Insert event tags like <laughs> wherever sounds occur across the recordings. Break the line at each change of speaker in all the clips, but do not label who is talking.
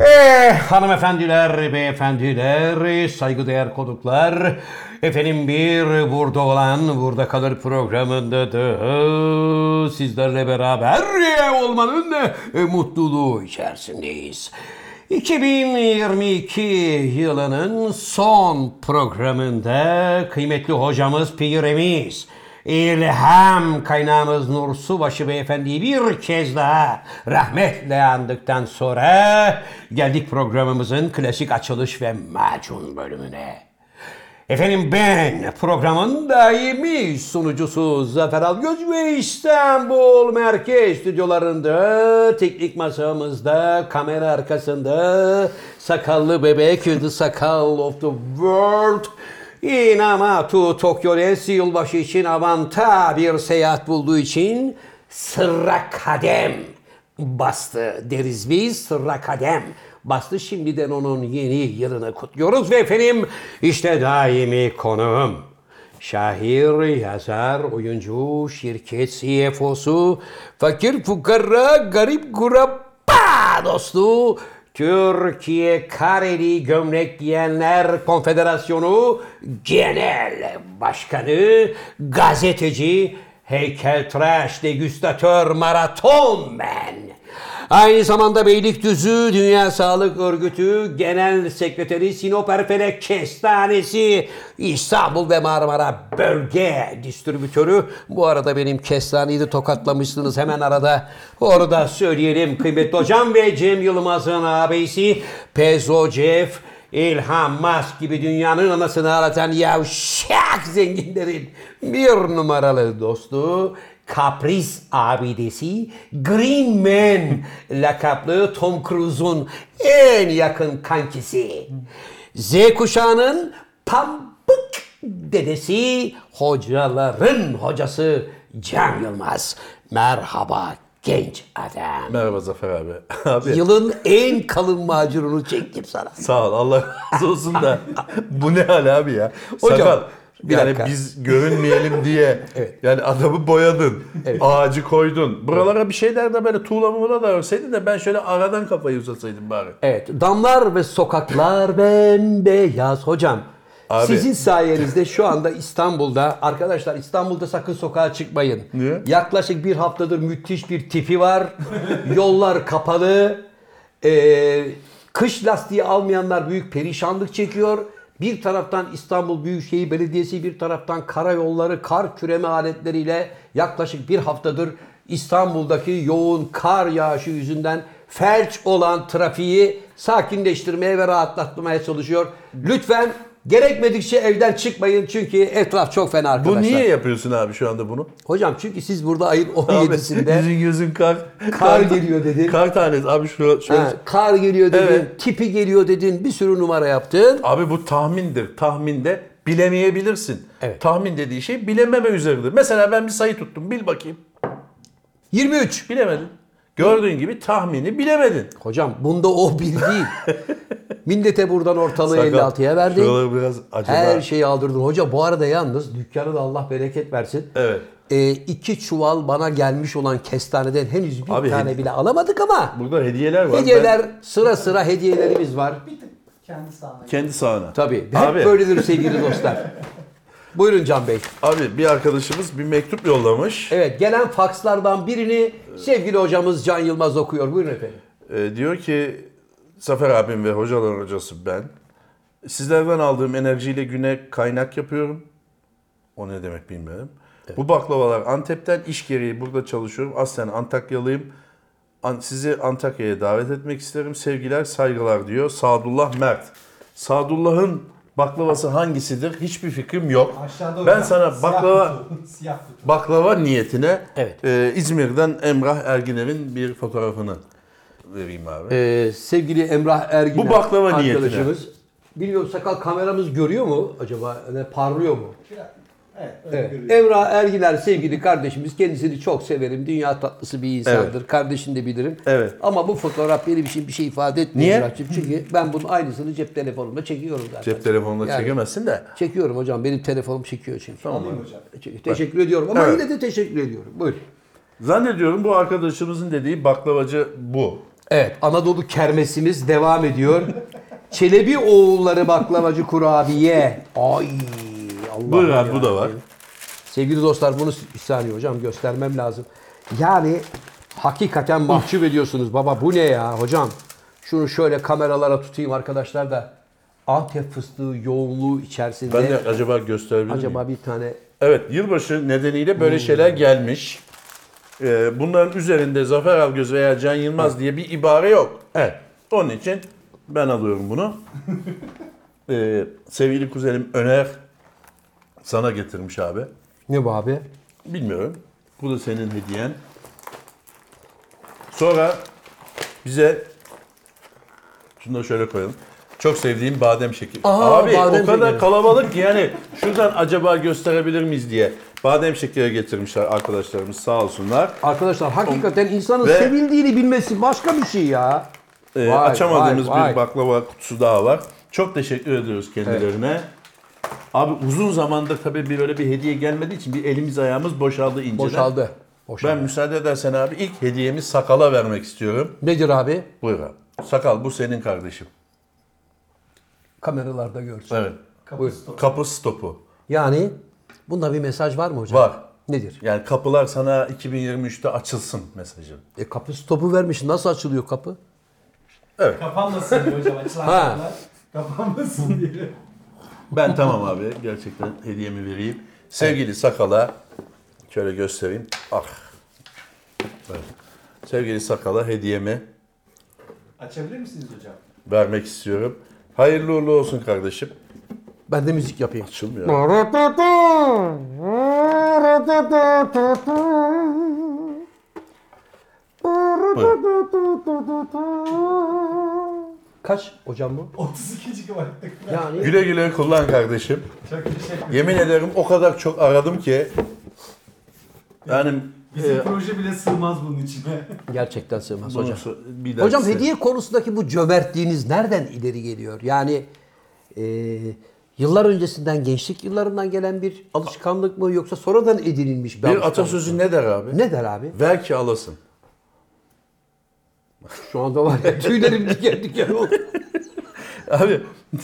Eh, hanımefendiler, beyefendiler, saygıdeğer konuklar. Efendim bir burada olan burada kalır programında da sizlerle beraber olmanın e, mutluluğu içerisindeyiz. 2022 yılının son programında kıymetli hocamız Pirimiz İlham kaynağımız Nur Subaşı Beyefendi'yi bir kez daha rahmetle andıktan sonra geldik programımızın klasik açılış ve macun bölümüne. Efendim ben programın daimi sunucusu Zafer Algöz ve İstanbul Merkez stüdyolarında, teknik masamızda, kamera arkasında sakallı bebek, the sakal of the world Inamatu Tokyo Lens yılbaşı için avanta bir seyahat bulduğu için sırra kadem bastı deriz biz sırra kadem bastı. Şimdiden onun yeni yılını kutluyoruz ve efendim işte daimi konuğum. Şahir, yazar, oyuncu, şirket CFO'su, fakir fukara, garip kurabba dostu, Türkiye Kareli Gömlek Giyenler Konfederasyonu Genel Başkanı, gazeteci, heykeltıraş, degüstatör, maraton ben. Aynı zamanda Beylikdüzü Dünya Sağlık Örgütü Genel Sekreteri Sinop Erfelek Kestanesi İstanbul ve Marmara Bölge Distribütörü. Bu arada benim kestaneyi de tokatlamışsınız hemen arada. Orada söyleyelim kıymetli hocam ve Cem Yılmaz'ın abisi Pezo Jeff İlham Musk gibi dünyanın anasını ağlatan yavşak zenginlerin bir numaralı dostu Kapris abidesi Green Man lakaplı Tom Cruise'un en yakın kankisi. Z kuşağının pambık dedesi hocaların hocası Cem Yılmaz. Merhaba genç adam.
Merhaba Zafer abi. <laughs> Abi
Yılın en kalın macununu çektim sana.
sağ ol Allah razı olsun
<laughs>
da bu ne hal abi ya.
Hocam,
Sakal,
bir
yani
dakika.
biz görünmeyelim diye
<laughs>
yani adamı boyadın, ağacı koydun. Buralara bir şeyler de böyle tuğla muğla da örseydin de ben şöyle aradan kafayı uzatsaydım bari.
Evet, damlar ve sokaklar bembeyaz hocam.
Abi.
Sizin sayenizde şu anda İstanbul'da arkadaşlar İstanbul'da sakın sokağa çıkmayın.
Niye?
Yaklaşık bir haftadır müthiş bir tipi var. Yollar kapalı. Ee, kış lastiği almayanlar büyük perişanlık çekiyor. Bir taraftan İstanbul Büyükşehir Belediyesi bir taraftan karayolları kar küreme aletleriyle yaklaşık bir haftadır İstanbul'daki yoğun kar yağışı yüzünden felç olan trafiği sakinleştirmeye ve rahatlatmaya çalışıyor. Lütfen gerekmedikçe evden çıkmayın çünkü etraf çok fena
Bu
arkadaşlar.
niye yapıyorsun abi şu anda bunu?
Hocam çünkü siz burada ayın
Abi,
17'sinde
yüzün gözün kar.
Kar geliyor dedin.
Kar tanesi abi şu, şöyle.
ha, kar geliyor dedin,
Evet.
tipi geliyor dedin, bir sürü numara yaptın.
Abi bu tahmindir. Tahminde bilemeyebilirsin.
Evet.
Tahmin dediği şey bilememe üzeridir. Mesela ben bir sayı tuttum. Bil bakayım.
23.
Bilemedin. Gördüğün gibi tahmini bilemedin.
Hocam bunda o bilgi.
<laughs>
Millete buradan ortalığı
Sakal,
56'ya verdin.
Şuraları biraz acaba.
Her şey- şeyi aldırdın. Hoca bu arada yalnız dükkanı da Allah bereket versin.
Evet.
Ee, iki çuval bana gelmiş olan kestaneden henüz bir
Abi,
tane
hedi-
bile alamadık ama
Burada hediyeler var.
hediyeler sıra sıra hediyelerimiz var.
Bir tık kendi sağına.
Ben kendi sahana.
Tabii. Hep
Abi,
böyledir sevgili dostlar. Buyurun Can Bey.
abi bir arkadaşımız bir mektup yollamış.
Evet gelen fakslardan birini sevgili hocamız Can Yılmaz okuyor. Buyurun efendim.
Ee, diyor ki Zafer abim ve hocaların hocası ben. Sizlerden aldığım enerjiyle güne kaynak yapıyorum. O ne demek bilmiyorum. Bu baklavalar Antep'ten iş gereği burada çalışıyorum. Aslen Antakyalıyım. An- sizi Antakya'ya davet etmek isterim. Sevgiler, saygılar diyor Sadullah Mert. Sadullah'ın baklavası hangisidir? Hiçbir fikrim yok.
Aşağıda
ben
hocam,
sana baklava
Siyah kutu. <laughs> siyah kutu.
baklava niyetine
Evet.
e, İzmir'den Emrah Erginer'in bir fotoğrafını vereyim abi.
Ee, sevgili Emrah Ergin.
Bu baklava
Bilmiyorum sakal kameramız görüyor mu acaba? Ne, parlıyor mu?
Biraz- Evet, öyle
Evet.
görüyorum.
Emrah Erginer sevgili kardeşimiz. Kendisini çok severim. Dünya tatlısı bir insandır. Kardeşini de bilirim.
Evet.
Ama bu fotoğraf benim için bir şey ifade etmiyor
Niye?
Emrah'cığım. Çünkü ben bunun aynısını cep telefonumda çekiyorum zaten.
Cep telefonla
Yani-
çekemezsin de.
Çekiyorum hocam. Benim telefonum çekiyor çünkü.
Alayım hocam.
Çek- Teşekkür ediyorum ama
Evet.
yine de teşekkür ediyorum. Buyur.
Zannediyorum bu arkadaşımızın dediği baklavacı bu.
Evet, Anadolu kermesimiz devam <laughs> ediyor. Çelebi oğulları baklavacı kurabiye. Ay Allah.
Buyur abi bu da var.
Sevgili dostlar bunu bir saniye hocam göstermem lazım. Yani hakikaten mahcup ediyorsunuz baba bu ne ya hocam. Şunu şöyle kameralara tutayım arkadaşlar da Antep fıstığı yoğunluğu içerisinde
Ben de acaba gösterebilir miyim?
acaba Hmm. bir tane
Evet yılbaşı nedeniyle böyle şeyler gelmiş. Ee, bunların üzerinde Zafer Algöz veya Can Yılmaz diye bir ibare yok. Evet. Onun için ben
<laughs>
alıyorum bunu. Ee, sevgili kuzenim Öner sana getirmiş abi.
ne bu abi?
Bilmiyorum. Bu da senin hediyen. Sonra bize şunu da şöyle koyalım. Çok sevdiğim badem şekeri.
Aa,
Abi
badem
o kadar
şekeri.
kalabalık ki yani şuradan acaba gösterebilir miyiz diye. Badem şekeri getirmişler arkadaşlarımız sağ olsunlar.
Arkadaşlar hakikaten insanın
Ve-
sevildiğini bilmesi başka bir şey ya.
Ee,
Vay,
açamadığımız
vay,
bir
vay.
baklava kutusu daha var. Çok teşekkür ediyoruz kendilerine. Abi uzun zamanda tabii bir böyle bir hediye gelmediği için bir elimiz ayağımız boşaldı inceden.
Boşaldı. Boşaldı.
Ben müsaade edersen abi ilk hediyemi sakala vermek istiyorum.
Nedir abi?
Buyur abi. Sakal bu senin kardeşim.
Kameralarda görsün.
Evet.
Buyur.
Kapısı doğru.
Kapı stopu.
Yani bunda bir mesaj var mı hocam?
Var.
Nedir?
Yani kapılar sana 2023'te açılsın mesajı.
E kapı stopu vermiş. Nasıl açılıyor kapı?
Kapanmasın diye hocam açılan
Ha.
kapılar. Kapanmasın diye.
Ben tamam abi gerçekten hediyemi vereyim. Sevgili Sakala şöyle göstereyim. Ah. Evet. Sevgili Sakala hediyemi
Açabilir misiniz hocam?
vermek istiyorum. Hayırlı uğurlu olsun kardeşim.
Ben de müzik yapayım.
Açılmıyor.
Kaç hocam bu?
32 GB'lık.
Yani
Güle güle kullan kardeşim.
Çok teşekkür ederim.
Yemin ederim o kadar çok aradım ki. Yani
Bizim
Ee,
e,
proje bile sığmaz bunun içine.
gerçekten sığmaz
bunu
hocam.
so- bir
Hocam
dahaki-
hediye konusundaki bu cömertliğiniz nereden ileri geliyor? Yani e, yıllar öncesinden gençlik yıllarından gelen bir alışkanlık mı yoksa sonradan edinilmiş bir,
Bir
alışkanlık
atasözü
mı?
ne der abi?
Ne der abi?
Ver ki alasın.
Şu anda var ya tüylerim diken diken oldu.
Abi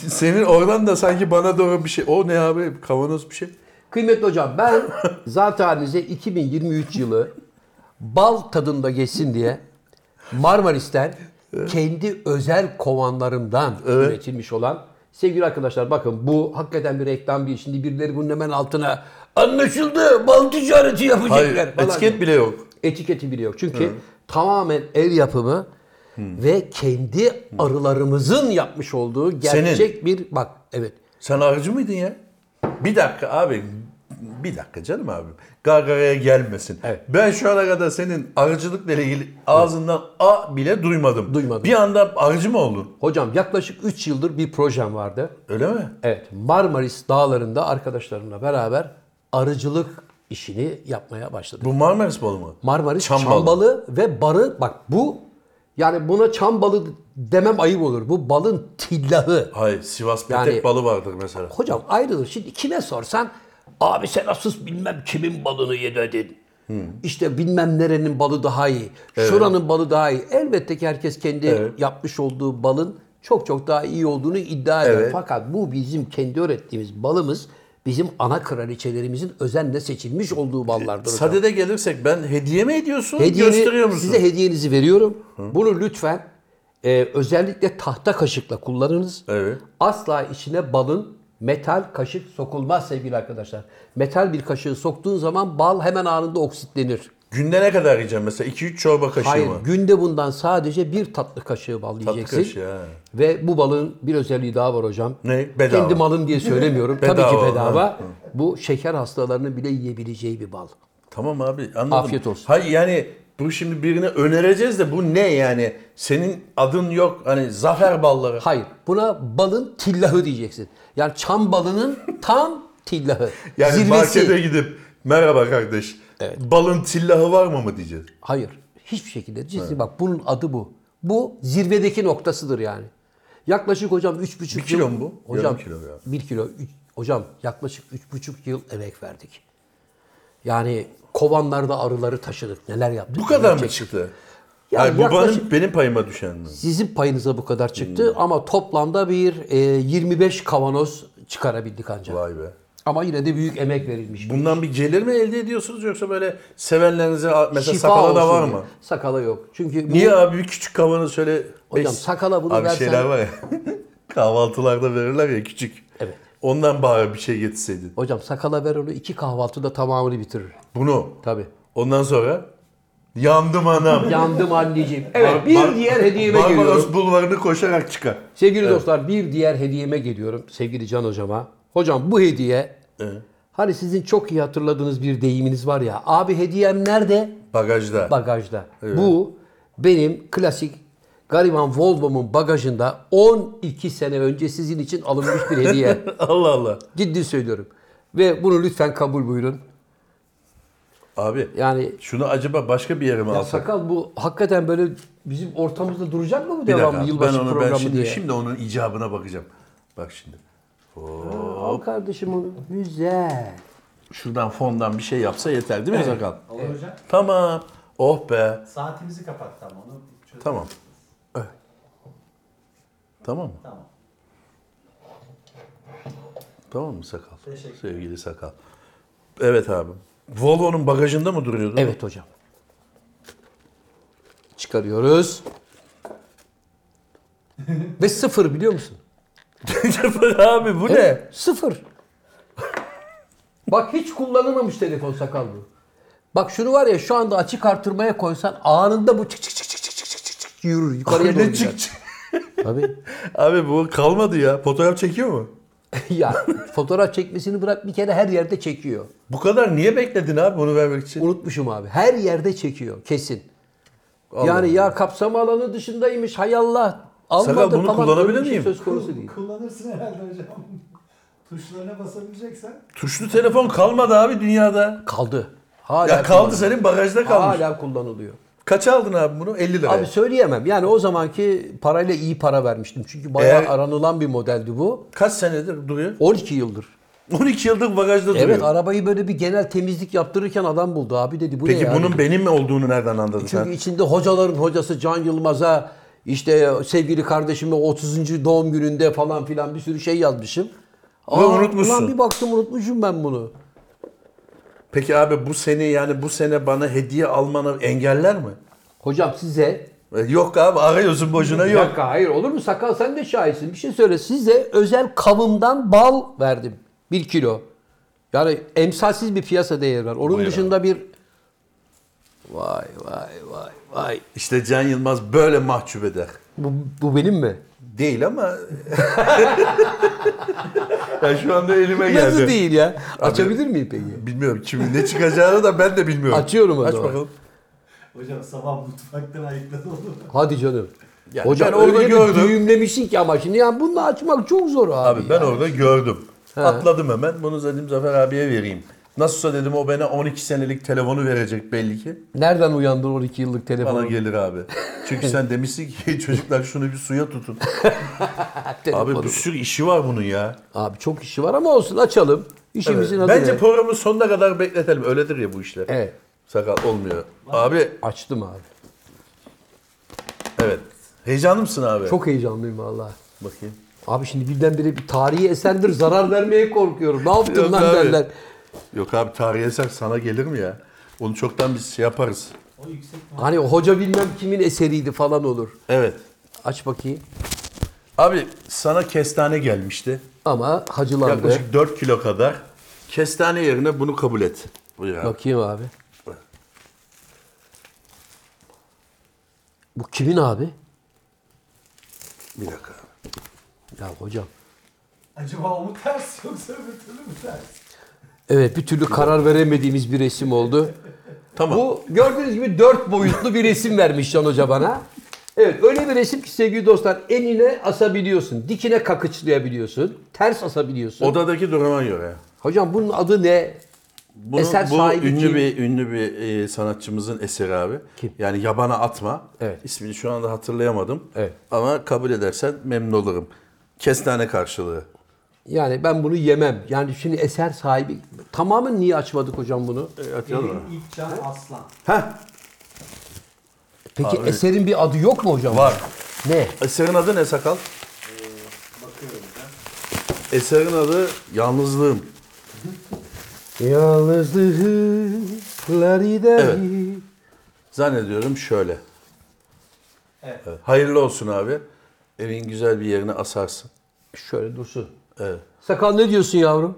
senin oradan da sanki bana doğru bir şey. O ne abi? Kavanoz bir şey.
Kıymetli hocam ben zaten halinize 2023 yılı bal tadında geçsin diye Marmaris'ten kendi özel kovanlarımdan üretilmiş olan sevgili arkadaşlar bakın bu hakikaten bir reklam değil. Şimdi birileri bunun hemen altına anlaşıldı bal ticareti
Hayır,
yapacaklar falan.
etiket bile yok.
Etiketi bile yok. Çünkü tamamen el yapımı ve kendi arılarımızın yapmış olduğu gerçek bir bak evet.
Sen arıcı mıydın ya? Bir dakika abi. Bir dakika canım abi. Gargaraya gelmesin.
Evet.
Ben şu ana kadar senin arıcılıkla ilgili ağzından a bile duymadım.
Duymadım.
Bir anda arıcı mı oldun?
Hocam yaklaşık 3 yıldır bir projem vardı.
Öyle mi?
Evet Marmaris dağlarında arkadaşlarımla beraber arıcılık işini yapmaya başladık.
Bu Marmaris balı mı?
Marmaris
Çam
çambalı. ve barı bak bu yani buna çambalı demem ayıp olur. Bu balın tillahı.
Hayır, Sivas petek
Yani-
balı vardır mesela.
Hocam ayrılır. Şimdi kime sorsan abi sen asıl bilmem kimin balını yedin. İşte bilmem nerenin balı daha iyi. Şuranın balı daha iyi. Elbette ki herkes kendi yapmış olduğu balın çok çok daha iyi olduğunu iddia eder.
Evet.
Fakat bu bizim kendi ürettiğimiz balımız bizim ana kraliçelerimizin özenle seçilmiş olduğu ballardır. hocam.
Sade'de gelirsek ben hediye mi ediyorsun,
Hediyeni-
gösteriyor musun?
Size hediyenizi veriyorum. Bunu lütfen e, özellikle tahta kaşıkla kullanınız.
Evet.
Asla içine balın metal kaşık sokulmaz sevgili arkadaşlar. Metal bir kaşığı soktuğun zaman bal hemen anında oksitlenir.
Günde ne kadar yiyeceğim mesela? 2-3 çorba kaşığı
Hayır,
mı?
günde bundan sadece bir tatlı kaşığı bal yiyeceksin.
kaşığı, ha.
Ve bu balın bir özelliği daha var hocam.
Ne? Bedava.
Kendi malım diye
<laughs>
söylemiyorum. Tabii
Bedava,
ki
ha,
bedava. Bu şeker hastalarının bile yiyebileceği bir bal.
Tamam abi anladım.
Afiyet olsun.
Hayır yani bu şimdi birine önereceğiz de bu ne yani? Senin adın yok hani zafer balları.
Hayır. Buna balın tillahı diyeceksin. Yani çam
<laughs>
balının tam tillahı.
Yani
Zirvesi.
markete gidip merhaba kardeş balın tillahı var mı mı diyeceğiz.
Hayır. Hiçbir şekilde. Ciddi bak bunun adı bu. Bu zirvedeki noktasıdır yani. Yaklaşık hocam 3,5 yıl.
Bir kilo mu bu?
Hocam
Yarım kilo ya.
1 kilo. Üç- hocam yaklaşık 3,5 yıl emek verdik. Yani kovanlarda arıları taşıdık. Neler yaptık?
Bu kadar
neler
mı
çektik.
çıktı?
Yani
Hayır, bu
yaklaşık
benim, benim payıma düşen mi?
sizin payınıza bu kadar çıktı
Hmm.
ama toplamda bir e, 25 kavanoz çıkarabildik ancak.
Vay be.
Ama yine de büyük emek verilmiş.
Bundan bir gelir mi elde ediyorsunuz yoksa böyle sevenlerinize mesela
Şifa
sakala da
olsun
var
diye.
mı?
Sakala yok. Çünkü bu-
Niye abi bir küçük kavanoz şöyle...
Hocam
Beş-
sakala bunu
abi
versen-
şeyler var ya <laughs> kahvaltılarda verirler ya küçük.
Evet.
Ondan bari bir şey getirseydin.
Hocam sakala ver onu iki kahvaltıda tamamını bitirir.
Bunu.
Tabii.
Ondan sonra yandım
<laughs>
anam.
Yandım anneciğim. Evet
Bar-
bir
bar-
diğer hediyeme geliyorum.
Barbaros bulvarını koşarak çıkar.
Sevgili dostlar bir diğer hediyeme geliyorum sevgili Can hocama. Hocam bu hediye
Ee?
hani sizin çok iyi hatırladığınız bir deyiminiz var ya. Abi hediyem nerede?
Bagajda.
Bagajda. Bu benim klasik gariban Volvo'mun bagajında 12 sene önce sizin için alınmış bir
<laughs>
hediye.
Allah Allah.
Ciddi söylüyorum. Ve bunu lütfen kabul buyurun.
Abi
Yani
şunu acaba başka bir yere mi
Ya
alsak?
sakal bu hakikaten böyle bizim ortamızda duracak mı bu
Bir
devamlı
dakika.
yılbaşı
ben onu ben
programı
şimdi,
diye?
şimdi onun icabına bakacağım. Bak şimdi.
Al kardeşim onu. Güzel.
Şuradan fondan bir şey yapsa yeter değil mi Sakal?
Olur hocam.
Tamam. Oh be.
Saatimizi kapattı ama onu çöz.
Tamam. Evet. Tamam mı?
Tamam.
Tamam mı Sakal?
Teşekkür
Sevgili Sakal. Evet abi. Volvo'nun bagajında mı duruyordu?
Evet hocam. Çıkarıyoruz. Ve sıfır biliyor musun?
<laughs> abi bu ne?
Evet, Sıfır. Bak hiç kullanılmamış telefon sakal bu. Bak şunu var ya şu anda açık artırmaya koysan anında bu çık çık çık çık çık çık çık çık çık yürür yukarıya
Abi
doğru
ne
çık.
çık çık-
Tabii.
Abi bu kalmadı ya. Fotoğraf çekiyor mu?
<laughs> ya fotoğraf çekmesini bırak bir kere her yerde çekiyor.
Bu kadar niye bekledin abi bunu vermek için?
Unutmuşum abi. Her yerde çekiyor kesin.
Allah
yani
Allah.
ya kapsama alanı dışındaymış hay Allah. Almadı
Sakal bunu
falan,
kullanabilir
öyle bir şey
miyim?
Söz konusu değil.
Kullanırsın herhalde hocam. <laughs> Tuşlarına basabileceksen.
Tuşlu telefon kalmadı abi dünyada.
Kaldı. Hala
Ya kaldı
kullanılıyor.
senin bagajda kalmış.
Hala kullanılıyor.
Kaç aldın abi bunu? 50 liraya.
Abi söyleyemem. Yani o zamanki parayla iyi para vermiştim. Çünkü bayağı
Eğer-
aranılan bir modeldi bu.
Kaç senedir duruyor? <laughs>
12 yıldır.
12 yıldır bagajda duruyor.
Evet arabayı böyle bir genel temizlik yaptırırken adam buldu abi dedi. Bu ne
Peki
yani?
bunun benim mi olduğunu nereden anladın
Çünkü
sen?
içinde hocaların hocası Can Yılmaz'a işte sevgili kardeşime 30. doğum gününde falan filan bir sürü şey yazmışım.
Ve unutmuşsun.
Ulan bir baktım unutmuşum ben bunu.
Peki abi bu seni yani bu sene bana hediye almanı engeller mi?
Hocam size
E, Yok abi arıyorsun boşuna
Bir
yok.
dakika, hayır olur mu sakal sen de şahitsin. Bir şey söyle size özel kavımdan bal verdim. Bir kilo. Yani emsalsiz bir piyasa değeri var. Onun
Buyur abi.
dışında bir <laughs> vay vay vay vay.
İşte Can Yılmaz böyle mahcup eder.
Bu, bu benim mi?
Değil
<laughs>
ama... ya şu anda elime geldi.
Nasıl değil ya? Açabilir miyim peki?
Bilmiyorum kimin ne çıkacağını da ben de bilmiyorum.
Açıyorum o
Aç
zaman.
bakalım.
Hocam sabah mutfaktan ayıkladı oğlum.
Hadi canım.
Yani
Hocam
ben orada
öyle
gördüm.
bir düğümlemişsin ki ama şimdi yani bunu açmak çok zor abi.
Abi ben
ya.
orada gördüm.
He.
Atladım hemen. Bunu dedim Zafer abiye vereyim. Nasılsa dedim o bana 12 senelik telefonu verecek belli ki.
Nereden uyandın 12 yıllık
Bana
telefonu?
gelir abi. Çünkü sen demişsin ki <laughs> çocuklar şunu bir suya tutun.
Telefonu.
Abi bir sürü işi var bunun ya.
Abi çok işi var ama olsun açalım. İşimizin adı
Bence
ne?
programın sonuna kadar bekletelim. Öyledir ya bu işler.
Evet.
Sakal olmuyor. Abi
Açtım abi.
evet. Heyecanlı mısın abi?
Çok heyecanlıyım vallahi.
Bakayım.
Abi şimdi birdenbire bir tarihi esendir zarar vermeye korkuyorum. Ne yaptın
Yok
lan
abi.
derler.
Yok abi tarih eser sana gelir mi ya? Onu çoktan biz şey yaparız.
O yüksek mi?
Hani hoca bilmem kimin eseriydi falan olur.
Evet.
Aç bakayım.
Abi sana kestane gelmişti.
Ama hacılandı.
Yaklaşık 4 kilo kadar. Kestane yerine bunu kabul et. Buyur abi.
Bakayım abi. Bu kimin abi?
Bir dakika.
Ya hocam.
Acaba o mu ters yoksa öbür türlü mü ters?
Evet bir türlü karar veremediğimiz bir resim oldu.
Tamam.
Bu gördüğünüz gibi dört boyutlu bir resim vermiş Can Hoca bana. Evet öyle bir resim ki sevgili dostlar enine asabiliyorsun, dikine kakıçlayabiliyorsun, ters asabiliyorsun.
Odadaki duruma göre.
Hocam bunun adı ne?
Bunu,
Eser
bu
sahibi
ünlü
kim?
bir ünlü bir e, sanatçımızın eseri abi.
Kim?
Yani yabana atma.
Evet.
İsmini şu anda hatırlayamadım.
Evet.
Ama kabul edersen memnun olurum. Kestane karşılığı.
Yani ben bunu yemem. Yani şimdi eser sahibi tamamen E, niye açmadık hocam bunu?
E,
Benim ilk can aslan.
Heh.
Peki
Abi-
eserin bir adı yok mu hocam?
Var.
Ne?
Eserin adı ne sakal? Eserin adı Yalnızlığım.
Yalnızlığın klarideri.
Zannediyorum şöyle.
Evet.
Evet. Hayırlı olsun abi. Evin güzel bir yerine asarsın.
Şöyle dursun.
Evet.
Sakal ne diyorsun yavrum?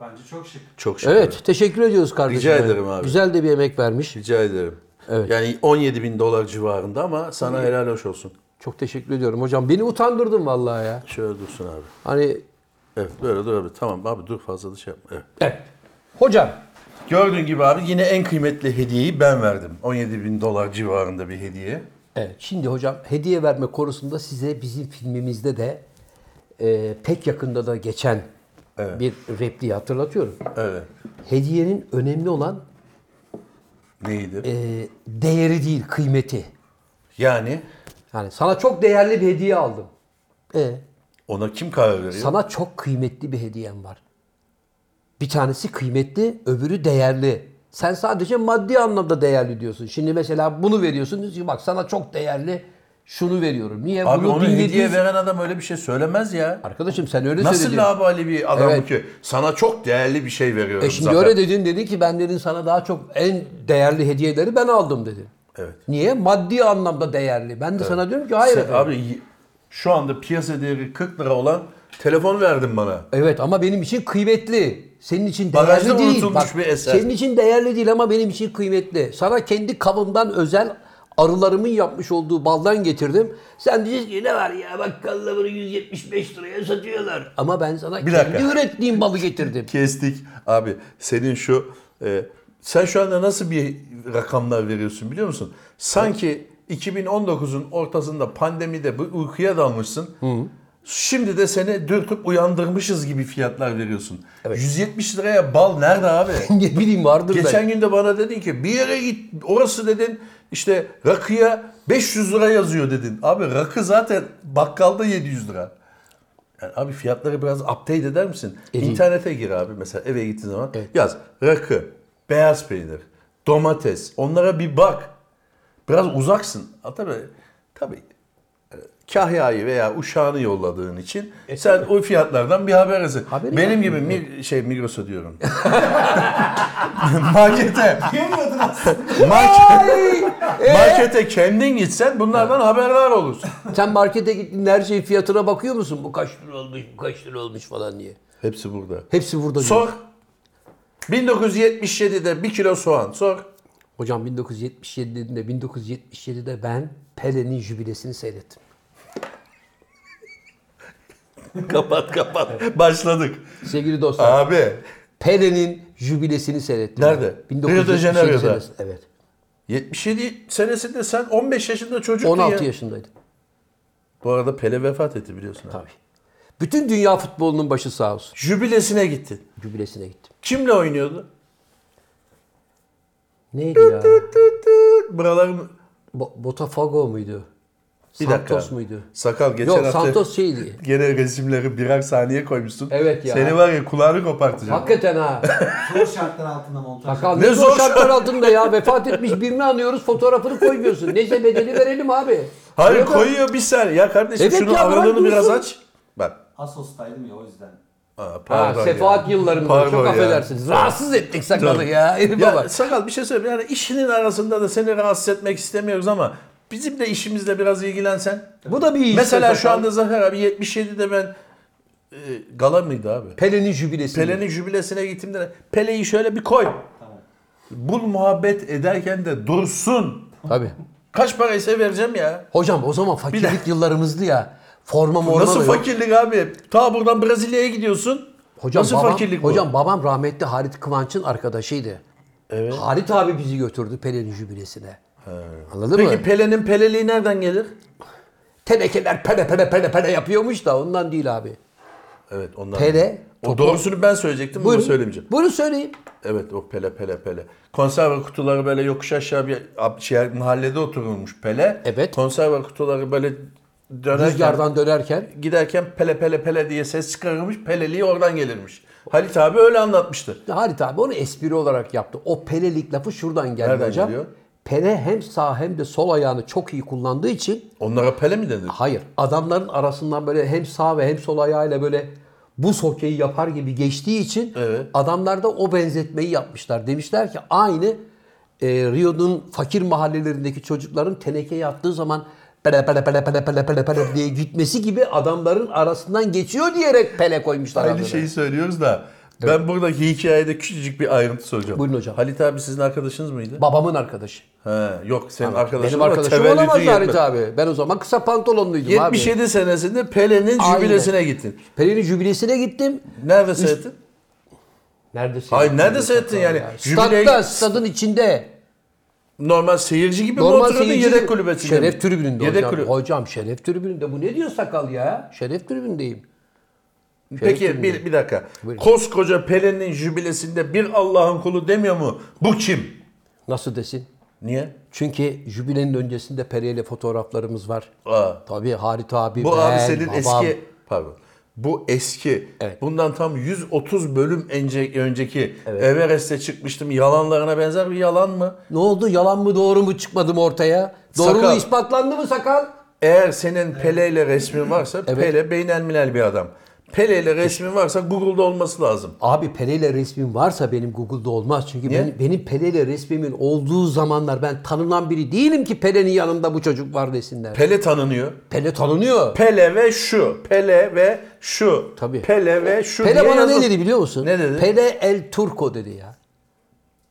Bence çok şık.
Çok şükür.
Evet, teşekkür ediyoruz kardeşim.
Rica ederim abi.
Güzel de bir emek vermiş.
Rica ederim.
Evet.
Yani 17 bin dolar civarında ama sana helal hoş olsun.
Çok teşekkür ediyorum hocam. Beni utandırdın vallahi ya.
Şöyle dursun abi.
Hani
Evet böyle dur abi. Tamam abi dur fazla da şey yapma. Evet.
evet. Hocam
Gördüğün gibi abi yine en kıymetli hediyeyi ben verdim. 17 bin dolar civarında bir hediye.
Evet, şimdi hocam hediye verme konusunda size bizim filmimizde de e, pek yakında da geçen
Evet.
bir repliği hatırlatıyorum.
Evet.
Hediyenin önemli olan
Neydi?
e, değeri değil, kıymeti.
Yani
Yani sana çok değerli bir hediye aldım. E,
ona kim karar veriyor?
sana çok kıymetli bir hediyem var. Bir tanesi kıymetli, öbürü değerli. Sen sadece maddi anlamda değerli diyorsun. Şimdi mesela bunu veriyorsun. diyorsun ki, Bak sana çok değerli şunu veriyorum. Niye?
abi
bunu
onu hediye
1700
veren adam öyle bir şey söylemez ya.
Arkadaşım sen öyle
Nasıl
söyledin.
labali bir adam
Evet.
bu ki? Sana çok değerli bir şey veriyorum
E şimdi
Zafer.
öyle dedin dedin ki ben dedin sana daha çok en değerli hediyeleri ben aldım dedin.
Evet.
Niye? Maddi anlamda değerli. Ben de sana diyorum ki hayır.
Sen-
efendim.
abi y- şu anda piyasa değeri 40 lira olan telefon verdin bana.
Evet ama benim için kıymetli. Senin için değerli
Bagajda
değil.
unutulmuş bir eser.
Senin için değerli değil ama benim için kıymetli. Sana kendi kavımdan özel arılarımın yapmış olduğu baldan getirdim. Sen diyeceksin ki ne var ya bakkalda bunu 175 liraya satıyorlar. Ama ben sana
Bir
kendi
dakika.
ürettiğim balı getirdim. <laughs>
Kestik. Abi senin şu e, sen şu anda nasıl bir rakamlar veriyorsun biliyor musun? Sanki 2019'un ortasında pandemide bu uykuya dalmışsın. Şimdi de seni dürtüp uyandırmışız gibi fiyatlar veriyorsun. 170 liraya bal nerede abi?
ne bileyim vardır belki.
Geçen gün de bana dedin ki bir yere git orası dedin işte rakıya 500 lira yazıyor dedin. Abi rakı zaten bakkalda 700 lira. Yani abi fiyatları biraz update eder misin?
Edeyim.
İnternete gir abi mesela eve gittiğin zaman yaz rakı, beyaz peynir, domates onlara bir bak. Biraz uzaksın. Ha, tabii, tabii Kahya'yı veya Uşağı'nı yolladığın için sen o fiyatlardan bir haberlisin.
Haberi
Benim gibi mi, şey Migros'a diyorum. <laughs> markete,
Diyemiyordun aslında.
market, e?
Ee?
markete kendin gitsen bunlardan haberdar olursun.
Sen markete gittiğinde her şeyin fiyatına bakıyor musun? Bu kaç lira olmuş, bu kaç lira olmuş falan diye.
Hepsi burada.
Hepsi burada diyor.
Sor. 1977'de bir kilo soğan sor.
Hocam 1977'de 1977'de ben Pele'nin jübilesini seyrettim.
kapat kapat. <laughs> Başladık.
Sevgili dostlar,
Abi.
Pele'nin jübilesini seyrettim.
Nerede?
Ben.
Rio de
1977
Janeiro'da.
senesinde, Evet.
77 senesinde sen 15 yaşında çocuktun
16
ya.
yaşındaydım.
Bu arada Pele vefat etti biliyorsun. Abi.
Tabii. Bütün dünya futbolunun başı sağ olsun.
Jübilesine gittin.
Jübilesine gittim.
Kimle oynuyordu?
Neydi ya?
Tüt tüt. Buralarım
Bo- Botafogo muydu?
bir
Santos
dakika.
muydu?
Sakal geçen
Yok
hafta
Santos şeydi.
gene resimleri birer saniye koymuşsun.
Evet ya.
Seni var ya kulağını kopartacağım.
Hakikaten ha.
<laughs> Zor şartlar altında montaj.
Sakal
Ne
ne
zor
zor şartlar altında ya. Vefat etmiş birini anıyoruz fotoğrafını koymuyorsun. Neyse bedeli verelim abi.
Hayır
Öyle mi?
koyuyor bir saniye. Ya kardeşim
Evet
şunu
ya, bırak
aralığını biraz
dursun.
aç. Bak.
Asos'taydım ya o yüzden.
Aa,
Ha,
pardon ya.
sefaat yıllarında
Pardon
çok
ya.
affedersiniz. Rahatsız ettik sakalı ya. Elime
Ya
bak.
sakal bir şey söyleyeyim. Yani işinin arasında da seni rahatsız etmek istemiyoruz ama bizim de işimizle biraz ilgilensen.
Bu da bir iş.
Mesela şu
Sakal.
anda Zafer abi 77'de ben e, gala mıydı abi?
Pelin'in jübilesi.
Pele'nin jübilesine gittiğimde Pele'yi şöyle bir koy.
Tamam.
Bul muhabbet ederken de dursun.
Tabii.
Kaç paraysa vereceğim ya.
Hocam o zaman fakirlik yıllarımızdı ya. Forma morma da
Nasıl
yok.
fakirlik abi? Ta buradan Brezilya'ya gidiyorsun.
Hocam,
Nasıl
babam,
fakirlik bu?
Hocam babam rahmetli Halit Kıvanç'ın arkadaşıydı. Evet. Halit abi bizi götürdü Pelin'in jübilesine. Anladın mı?
Peki Pele'nin Pele'liği nereden gelir?
Tenekeler pele pele pele pele yapıyormuş da ondan değil abi.
Evet ondan.
Pele,
O
topu-
doğrusunu ben söyleyecektim bunu
Buyurun.
söylemeyeceğim.
Buyurun söyleyin.
Evet o pele pele pele. Konserve kutuları böyle yokuş aşağı bir ab- şey, mahallede oturulmuş pele.
Evet.
Konserve kutuları böyle dönerken,
Rüzgardan dönerken.
giderken pele pele pele diye ses çıkarılmış. Peleliği oradan gelirmiş. Halit abi öyle anlatmıştı.
Halit abi onu espri olarak yaptı. O pelelik lafı şuradan geldi
Nereden
hocam.
geliyor?
Pele hem sağ hem de sol ayağını çok iyi kullandığı için
Onlara pele mi denir?
hayır adamların arasından böyle hem sağ ve hem sol ayağıyla böyle bu hokeyi yapar gibi geçtiği için
Evet.
adamlar da o benzetmeyi yapmışlar. Demişler ki aynı e, Rio'nun fakir mahallelerindeki çocukların tenekeye attığı zaman pele pele pele pele pele pele pele diye gitmesi gibi adamların arasından geçiyor diyerek pele koymuşlar.
Aynı şey-
adını.
şeyi söylüyoruz da ben buradaki hikayede küçücük bir ayrıntı soracağım.
Buyurun hocam.
Halit abi sizin arkadaşınız mıydı?
Babamın arkadaşı.
He, yok senin arkadaşın
Benim
ama
arkadaşım
tevellüdün
olamaz Halit
yetmez.
abi. Ben o zaman kısa pantolonluydum abi.
77 senesinde Pele'nin
Aynen.
jübilesine gittin.
Pele'nin jübilesine gittim.
Nerede seyrettin?
Nerede
Hayır nerede seyrettin yani? Jübileye
Statta, stadın içinde.
normal seyirci gibi mi
Normal
oturuyordun
seyirci-
yedek kulübesinde mi?
Şeref tribününde
yedek
hocam.
kulübü-
Hocam şeref tribününde. Bu ne diyor sakal ya? Şeref tribünündeyim.
Peki bir, bir dakika. Koskoca Pele'nin jübilesinde bir Allah'ın kulu demiyor mu? Bu kim?
Nasıl desin?
Niye?
Çünkü jübilenin öncesinde Pele ile fotoğraflarımız var.
Aa,
Tabii Harit abi,
bu
ben,
abi senin
babam.
eski pardon. Bu eski.
Evet.
Bundan tam 130 bölüm önce, önceki Everest'e çıkmıştım. Yalanlarına benzer bir yalan mı?
Ne oldu? Yalan mı doğru mu çıkmadım ortaya? Doğru mu
Sakal.
ispatlandı mı sakal?
Eğer senin Pele ile resmin varsa Pele beynelmilel bir adam. Pele ile resmin varsa Google'da olması lazım.
Abi Pele ile resmim varsa benim Google'da olmaz. Çünkü
Niye?
benim, benim Pele ile resmimin olduğu zamanlar ben tanınan biri değilim ki Pele'nin yanında bu çocuk var desinler.
Pele tanınıyor.
Pele tanınıyor.
Pele ve şu, Pele ve şu,
Tabii.
Pele ve şu.
Pele
diye
bana ne
yazılır.
dedi biliyor musun?
Ne dedi?
Pele El Turco dedi ya.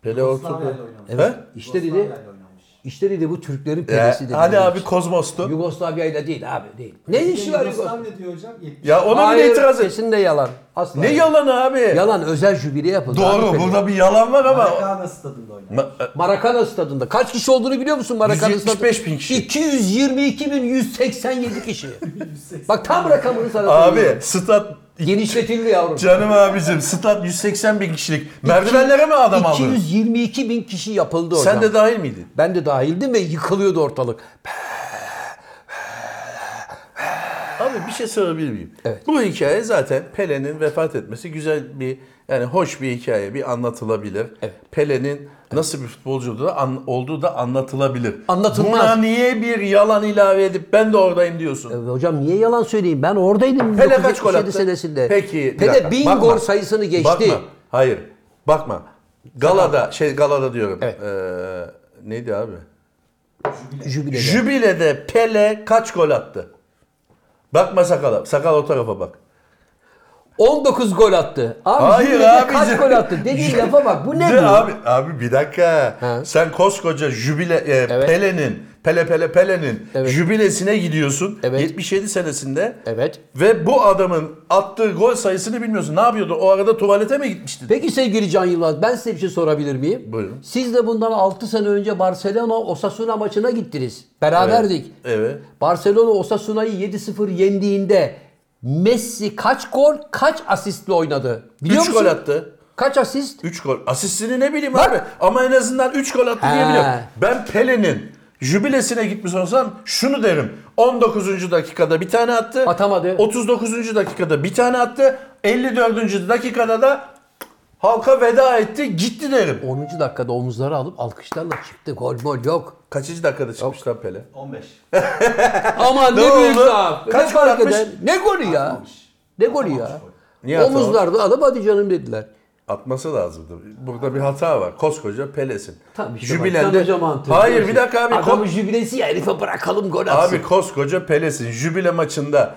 Pele ortada.
Yugoslavya'yla oynamış.
Evet.
İşte dedi,
Yugoslavya'yla oynamış.
işte dedi bu Türklerin
Ya,
Pele'si dedi.
hadi abi Kozmos'tu.
Yugoslavya ile değil abi değil. Ne
Bir de
işi var Yugoslavya?
Yugoslavya diyor hocam. 70.
Ya ona bile itiraz et.
kesin de yalan. Asla.
Ne yalanı abi?
Yalan özel jübile yapıldı. abi
Doğru
Pele.
burada bir yalan var ama.
Marakana stadında oynamış.
Ma-
Marakana stadında. Kaç kişi olduğunu biliyor musun Marakana stadında?
175 bin kişi.
222.187
<laughs>
kişi. Bak tam rakamını sana
Abi
söylüyorum.
stat
Genişletildi yavrum.
canım abicim stat 180 bin kişilik. Merdivenlere mi adam aldı?
222 bin kişi yapıldı hocam.
Sen de dahil miydin?
Ben de dahildim ve yıkılıyordu ortalık.
Abi bir şey sorabilir miyim?
Evet.
Bu hikaye zaten Pele'nin vefat etmesi güzel bir yani hoş bir hikaye bir anlatılabilir.
Evet.
Pele'nin nasıl bir futbolcu olduğu da, an- olduğu da anlatılabilir.
Anlatılmaz.
Buna niye bir yalan ilave edip ben de oradayım diyorsun?
E, Hocam niye yalan söyleyeyim? Ben oradaydım
Pele kaç gol
1977
attı?
senesinde.
Peki. bir
şey Pele
dakika.
1000
Bakma.
gol sayısını geçti.
Bakma. Hayır. Bakma. Galada şey Galada diyorum.
Evet.
Ee, neydi abi?
Jübilede.
Jübilede Pele kaç gol attı? Bakma sakala. Sakal o tarafa bak.
19 gol attı. Abi
Hayır
Jübilede
abi.
kaç gol
<laughs>
attı? Dediğin lafa bak. Bu ne
De
bu?
Abi, abi bir dakika.
He.
Sen koskoca jübile e, Pele'nin Pele Pele Pele'nin
Evet.
jübilesine gidiyorsun.
Evet.
77 senesinde.
Evet.
Ve bu adamın attığı gol sayısını bilmiyorsun. Ne yapıyordu? O arada tuvalete mi gitmiştin?
Peki sevgili Can Yılmaz ben size bir şey sorabilir miyim?
Buyurun.
Siz de bundan 6 sene önce Barcelona Osasuna maçına gittiniz. Beraberdik.
Evet.
Barcelona Osasuna'yı 7-0 yendiğinde Messi kaç gol kaç asistle oynadı? Biliyor
3
musun?
gol attı.
Kaç asist?
3 gol. Asistini ne bileyim
Bak.
abi. Ama en azından 3 gol attı
He.
diyebiliyorum. Ben Pele'nin jübilesine gitmiş olsam şunu derim. 19. dakikada bir tane attı.
Atamadı.
39. dakikada bir tane attı. 54. dakikada da halka veda etti. Gitti derim.
10. dakikada omuzları alıp alkışlarla çıktı. Gol mol <laughs> yok.
Kaçıncı dakikada çıkmış lan Pele?
15.
Aman ne,
Ne
büyük
oldu?
laf.
Kaç
ne
gol
fark
atmış?
eder? Ne golü ya?
Atmamış.
Ne golü ya?
Atmamış gol.
Niye atamamış?
Omuzlarda alıp hadi canım dediler.
Atması lazımdı. Burada bir hata var. Koskoca Pele'sin.
Tabii işte bak,
Jübilende...
canlıca mantığı.
Hayır
Diyor
bir
ki,
dakika abi.
Adamın jübilesi ya herife bırakalım gol atsın.
Abi koskoca Pele'sin jübile maçında.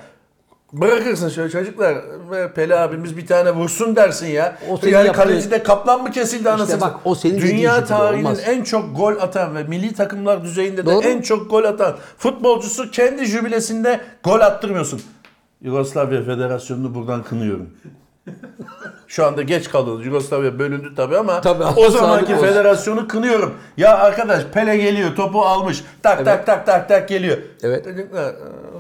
Bırakırsın şöyle çocuklar ve Pele abimiz bir tane vursun dersin ya.
O senin
yani
yaptığın-
kalecide kaplan mı kesildi anasını?
bak, o senin dediğin
Dünya
jübile
tarihinin
olmaz.
en çok gol atan ve milli takımlar düzeyinde de
Doğru.
en çok gol atan futbolcusu kendi jübilesinde gol attırmıyorsun. Yugoslavya Federasyonu'nu
<laughs>
buradan kınıyorum. Şu anda geç kaldı. Yugoslavya bölündü tabii ama
Tabii,
o zamanki
sağlık olsun.
federasyonu kınıyorum. Ya arkadaş Pele geliyor, topu almış. Tak tak tak tak tak geliyor.
Evet.
Çocuklar,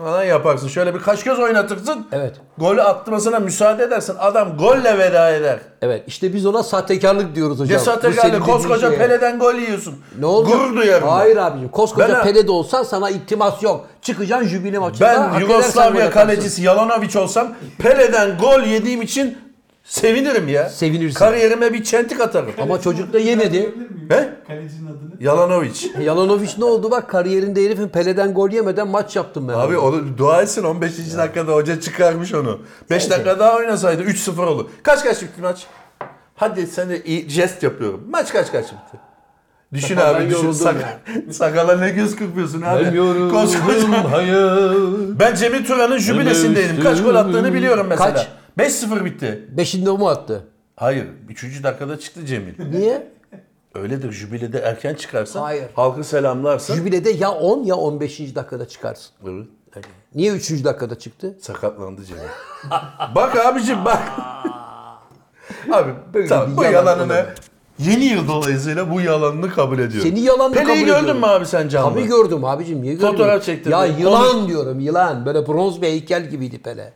Falan yaparsın. Şöyle bir kaş göz oynatırsın.
Evet.
Golü attırmasına müsaade edersin. Adam golle veda eder.
Evet işte biz ona sahtekarlık diyoruz hocam.
Ne
Bu
sahtekarlı
senin
koskoca
dediğin şeye.
Pele'den gol yiyorsun.
Ne olacak?
Gurur duyarım. ben.
Hayır abicim koskoca
Ben-
Pele de olsan sana iltimas yok. Çıkacaksın jübile maçında. hak
Ben
edersen
Yugoslavya
gol atarsın.
kalecisi Yalanovic olsam Pele'den gol yediğim için Sevinirim ya.
Sevinirsin.
Kariyerime bir çentik atarım.
Ama çocuk da yemedi.
Bilir miyim?
He?
Kalecinin adını.
Yalanoviç.
Yalanoviç ne oldu bak kariyerinde herifin Pele'den gol yemeden maç yaptım ben.
Abi onu dua etsin 15. dakikada hoca çıkarmış onu. 5 dakika daha oynasaydı 3-0 olur. Kaç kaç bitti maç? Hadi sen de iyi jest yapıyorum. Maç kaç kaç bitti? Düşün
Sakal, ben
abi düşün.
yoruldum
Sakal, <laughs> sakala ne göz kırpıyorsun abi. Koskoca-
hayır.
<laughs> Ben Cemil Turan'ın jübilesindeydim. Kaç gol attığını biliyorum mesela.
Kaç?
5-0 bitti.
Beşinde o mu attı?
Hayır. 3. dakikada çıktı Cemil.
Niye?
Öyledir jübilede erken çıkarsan
Hayır.
halkı selamlarsın.
Jübilede ya 10 ya 15. dakikada çıkarsın.
Evet.
Niye 3. dakikada çıktı?
Sakatlandı Cemil. bak abicim bak. <laughs> Abi
Böyle bir
tamam, bu
yalan
yalanını
olamaz.
yeni yıl dolayısıyla bu yalanını kabul ediyorum.
Seni yalanını kabul
Pele'yi
ediyorum.
gördün mü abi sen canlı?
Tabii gördüm abicim. Niye
Fotoğraf
görmeyeyim?
çektirdim.
Ya yılan
Konuş-
diyorum yılan. Böyle bronz bir heykel gibiydi Pele.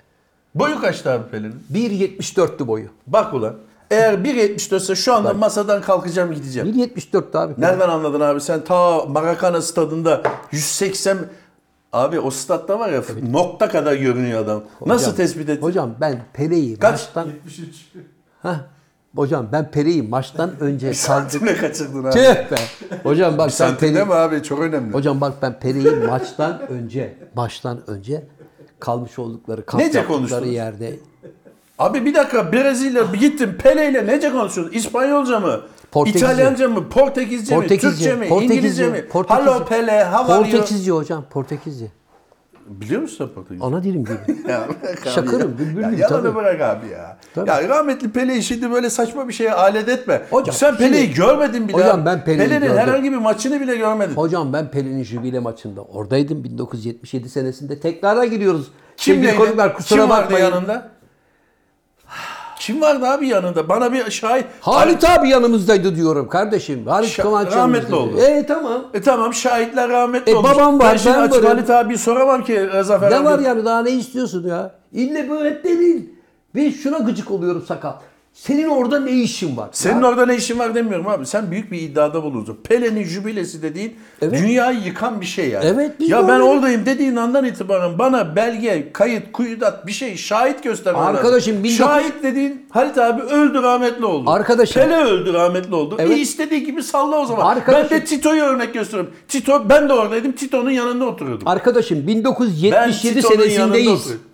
Boyu kaçtı abi Pele'nin?
1.74'tü boyu.
Bak ulan. Eğer 1.74 ise şu anda masadan kalkacağım gideceğim.
1.74'tü abi. Pele.
Nereden anladın abi sen ta Maracana stadında 180 Abi o statta var ya nokta kadar görünüyor adam. Nasıl
Hocam,
tespit ettin?
Hocam ben Pele'yi
Kaç?
maçtan...
73.
Heh. Hocam ben Pele'yi maçtan
<laughs>
önce kaldı.
Santimle kaçırdın abi.
Tüh be. Hocam bak sen
Santim
Pele'yi...
değil mi abi? Çok önemli.
Hocam bak ben Pere'yi maçtan önce, maçtan önce kalmış oldukları, kamp
Nece
yaptıkları
konuştunuz?
yerde
Abi bir dakika Brezilya bir gittim Pele ile nece konuşuyorsun? İspanyolca mı?
Portekizce.
İtalyanca mı? Portekizce,
Portekizce,
mi? Türkçe mi?
Portekizce,
İngilizce mi?
Portekizce.
Hello Pele, how are you?
Portekizce hocam, Portekizce.
Biliyor musun sen Portekizce?
Ana dilim
<laughs>
gibi.
Ya bırak abi
Şakırım,
<laughs> ya.
bülbülüm
Ya yalanı
tabii.
bırak abi ya.
Tabii.
Ya rahmetli Pele'yi şimdi böyle saçma bir şeye alet etme.
Hocam,
Sen Pele'yi
şimdi-
görmedin bile.
Hocam
abi.
ben Pele'yi
Pele'nin
gördüm.
herhangi bir maçını bile görmedin.
Hocam ben Pelin'in jübile maçında oradaydım 1977 senesinde. Tekrara giriyoruz.
Kimleydi?
Sevgili konuklar, kusura
Kim vardı
bakmayın.
yanında? <sighs> Kim vardı abi yanında? Bana bir şahit.
Halit abi yanımızdaydı diyorum kardeşim. Halit
Şa-
Kıvanç
rahmetli
yanımızdaydı.
oldu.
E tamam.
E tamam şahitler rahmetli
E,
olmuş.
babam var,
Ben şimdi
ben
açık
varım.
Halit abiyi soramam ki e, Zafer
Ne
abi.
var yani daha ne istiyorsun ya? İlle böyle değil. Ve şuna gıcık oluyorum sakal. Senin orada ne işin var?
Senin orada ne işin var demiyorum abi. Sen büyük bir iddiada bulundun. Pele'nin jübilesi dediğin
Evet.
dünyayı yıkan bir şey yani.
Evet, biz
ya ben
gördük.
oradayım dediğin andan itibaren bana belge, kayıt, kuyudat bir şey şahit göster. bana.
Arkadaşım, 1900
Şahit dediğin Halit abi öldü rahmetli oldu.
Arkadaşım.
Pele öldü rahmetli oldu.
Evet.
E istediği gibi salla o zaman.
Arkadaşım.
Ben de Tito'yu örnek gösteriyorum. Tito ben de oradaydım. Tito'nun yanında oturuyordum.
Arkadaşım
ben
1977
Tito'nun yanında
senesindeyiz.
oturuyordum.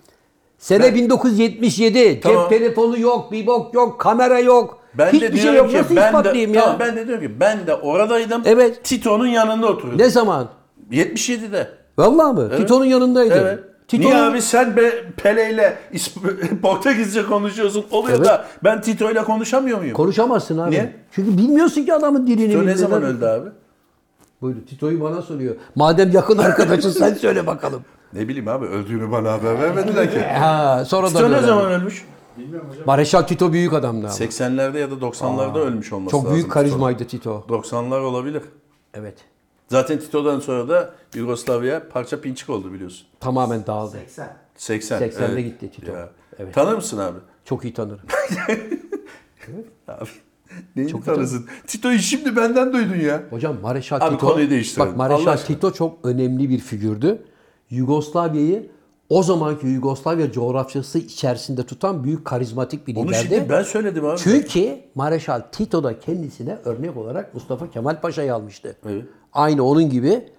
Sene 1977. Cep
Tamam.
telefonu yok, bir bok yok, kamera yok.
Ben
Hiçbir
de
şey
diyorum
yok.
ki
Nasıl
ben de,
ispatlayayım ya?
Tamam, ben de diyorum ki ben de oradaydım.
Evet.
Tito'nun yanında oturuyordum.
Ne zaman?
77'de.
Vallahi mı? Tito'nun yanındaydı.
Evet.
Tito'nun-
Niye abi sen be Pele ile İsp- <laughs> Portekizce konuşuyorsun oluyor
Evet.
da ben Tito ile konuşamıyor muyum?
Konuşamazsın abi.
Niye?
Çünkü bilmiyorsun ki adamın dilini.
Tito ne
bilmeden-
zaman öldü abi?
Buyurun Tito'yu bana soruyor. Madem
<laughs>
yakın arkadaşın sen söyle bakalım.
Ne bileyim abi öldüğünü bana haber vermediler
<laughs>
ki.
Ha, sonra da
Tito ne
böyle.
zaman ölmüş?
Bilmiyorum hocam.
Mareşal Tito büyük adamdı ama.
80'lerde ya da 90'larda ölmüş olması
Çok
lazım.
büyük karizmaydı Tito.
Tito. 90'lar olabilir.
Evet.
Zaten Tito'dan sonra da Yugoslavya parça pinçik oldu biliyorsun.
Tamamen dağıldı.
80.
80.
80'de gitti Tito.
Ya.
Evet.
Tanır mısın abi?
Çok iyi tanırım.
Abi neyi tanırsın? Tito'yu şimdi benden duydun ya.
Hocam Mareşal
Abi
Tito.
konuyu değiştirelim.
Bak Mareşal
Allah aşkına.
Tito çok önemli bir figürdü. Yugoslavya'yı o zamanki Yugoslavya coğrafyası içerisinde tutan büyük karizmatik bir
Onu
liderdi.
şimdi ben söyledim abi.
Çünkü Mareşal Tito da kendisine örnek olarak Mustafa Kemal Paşa'yı almıştı.
Evet.
Aynı onun gibi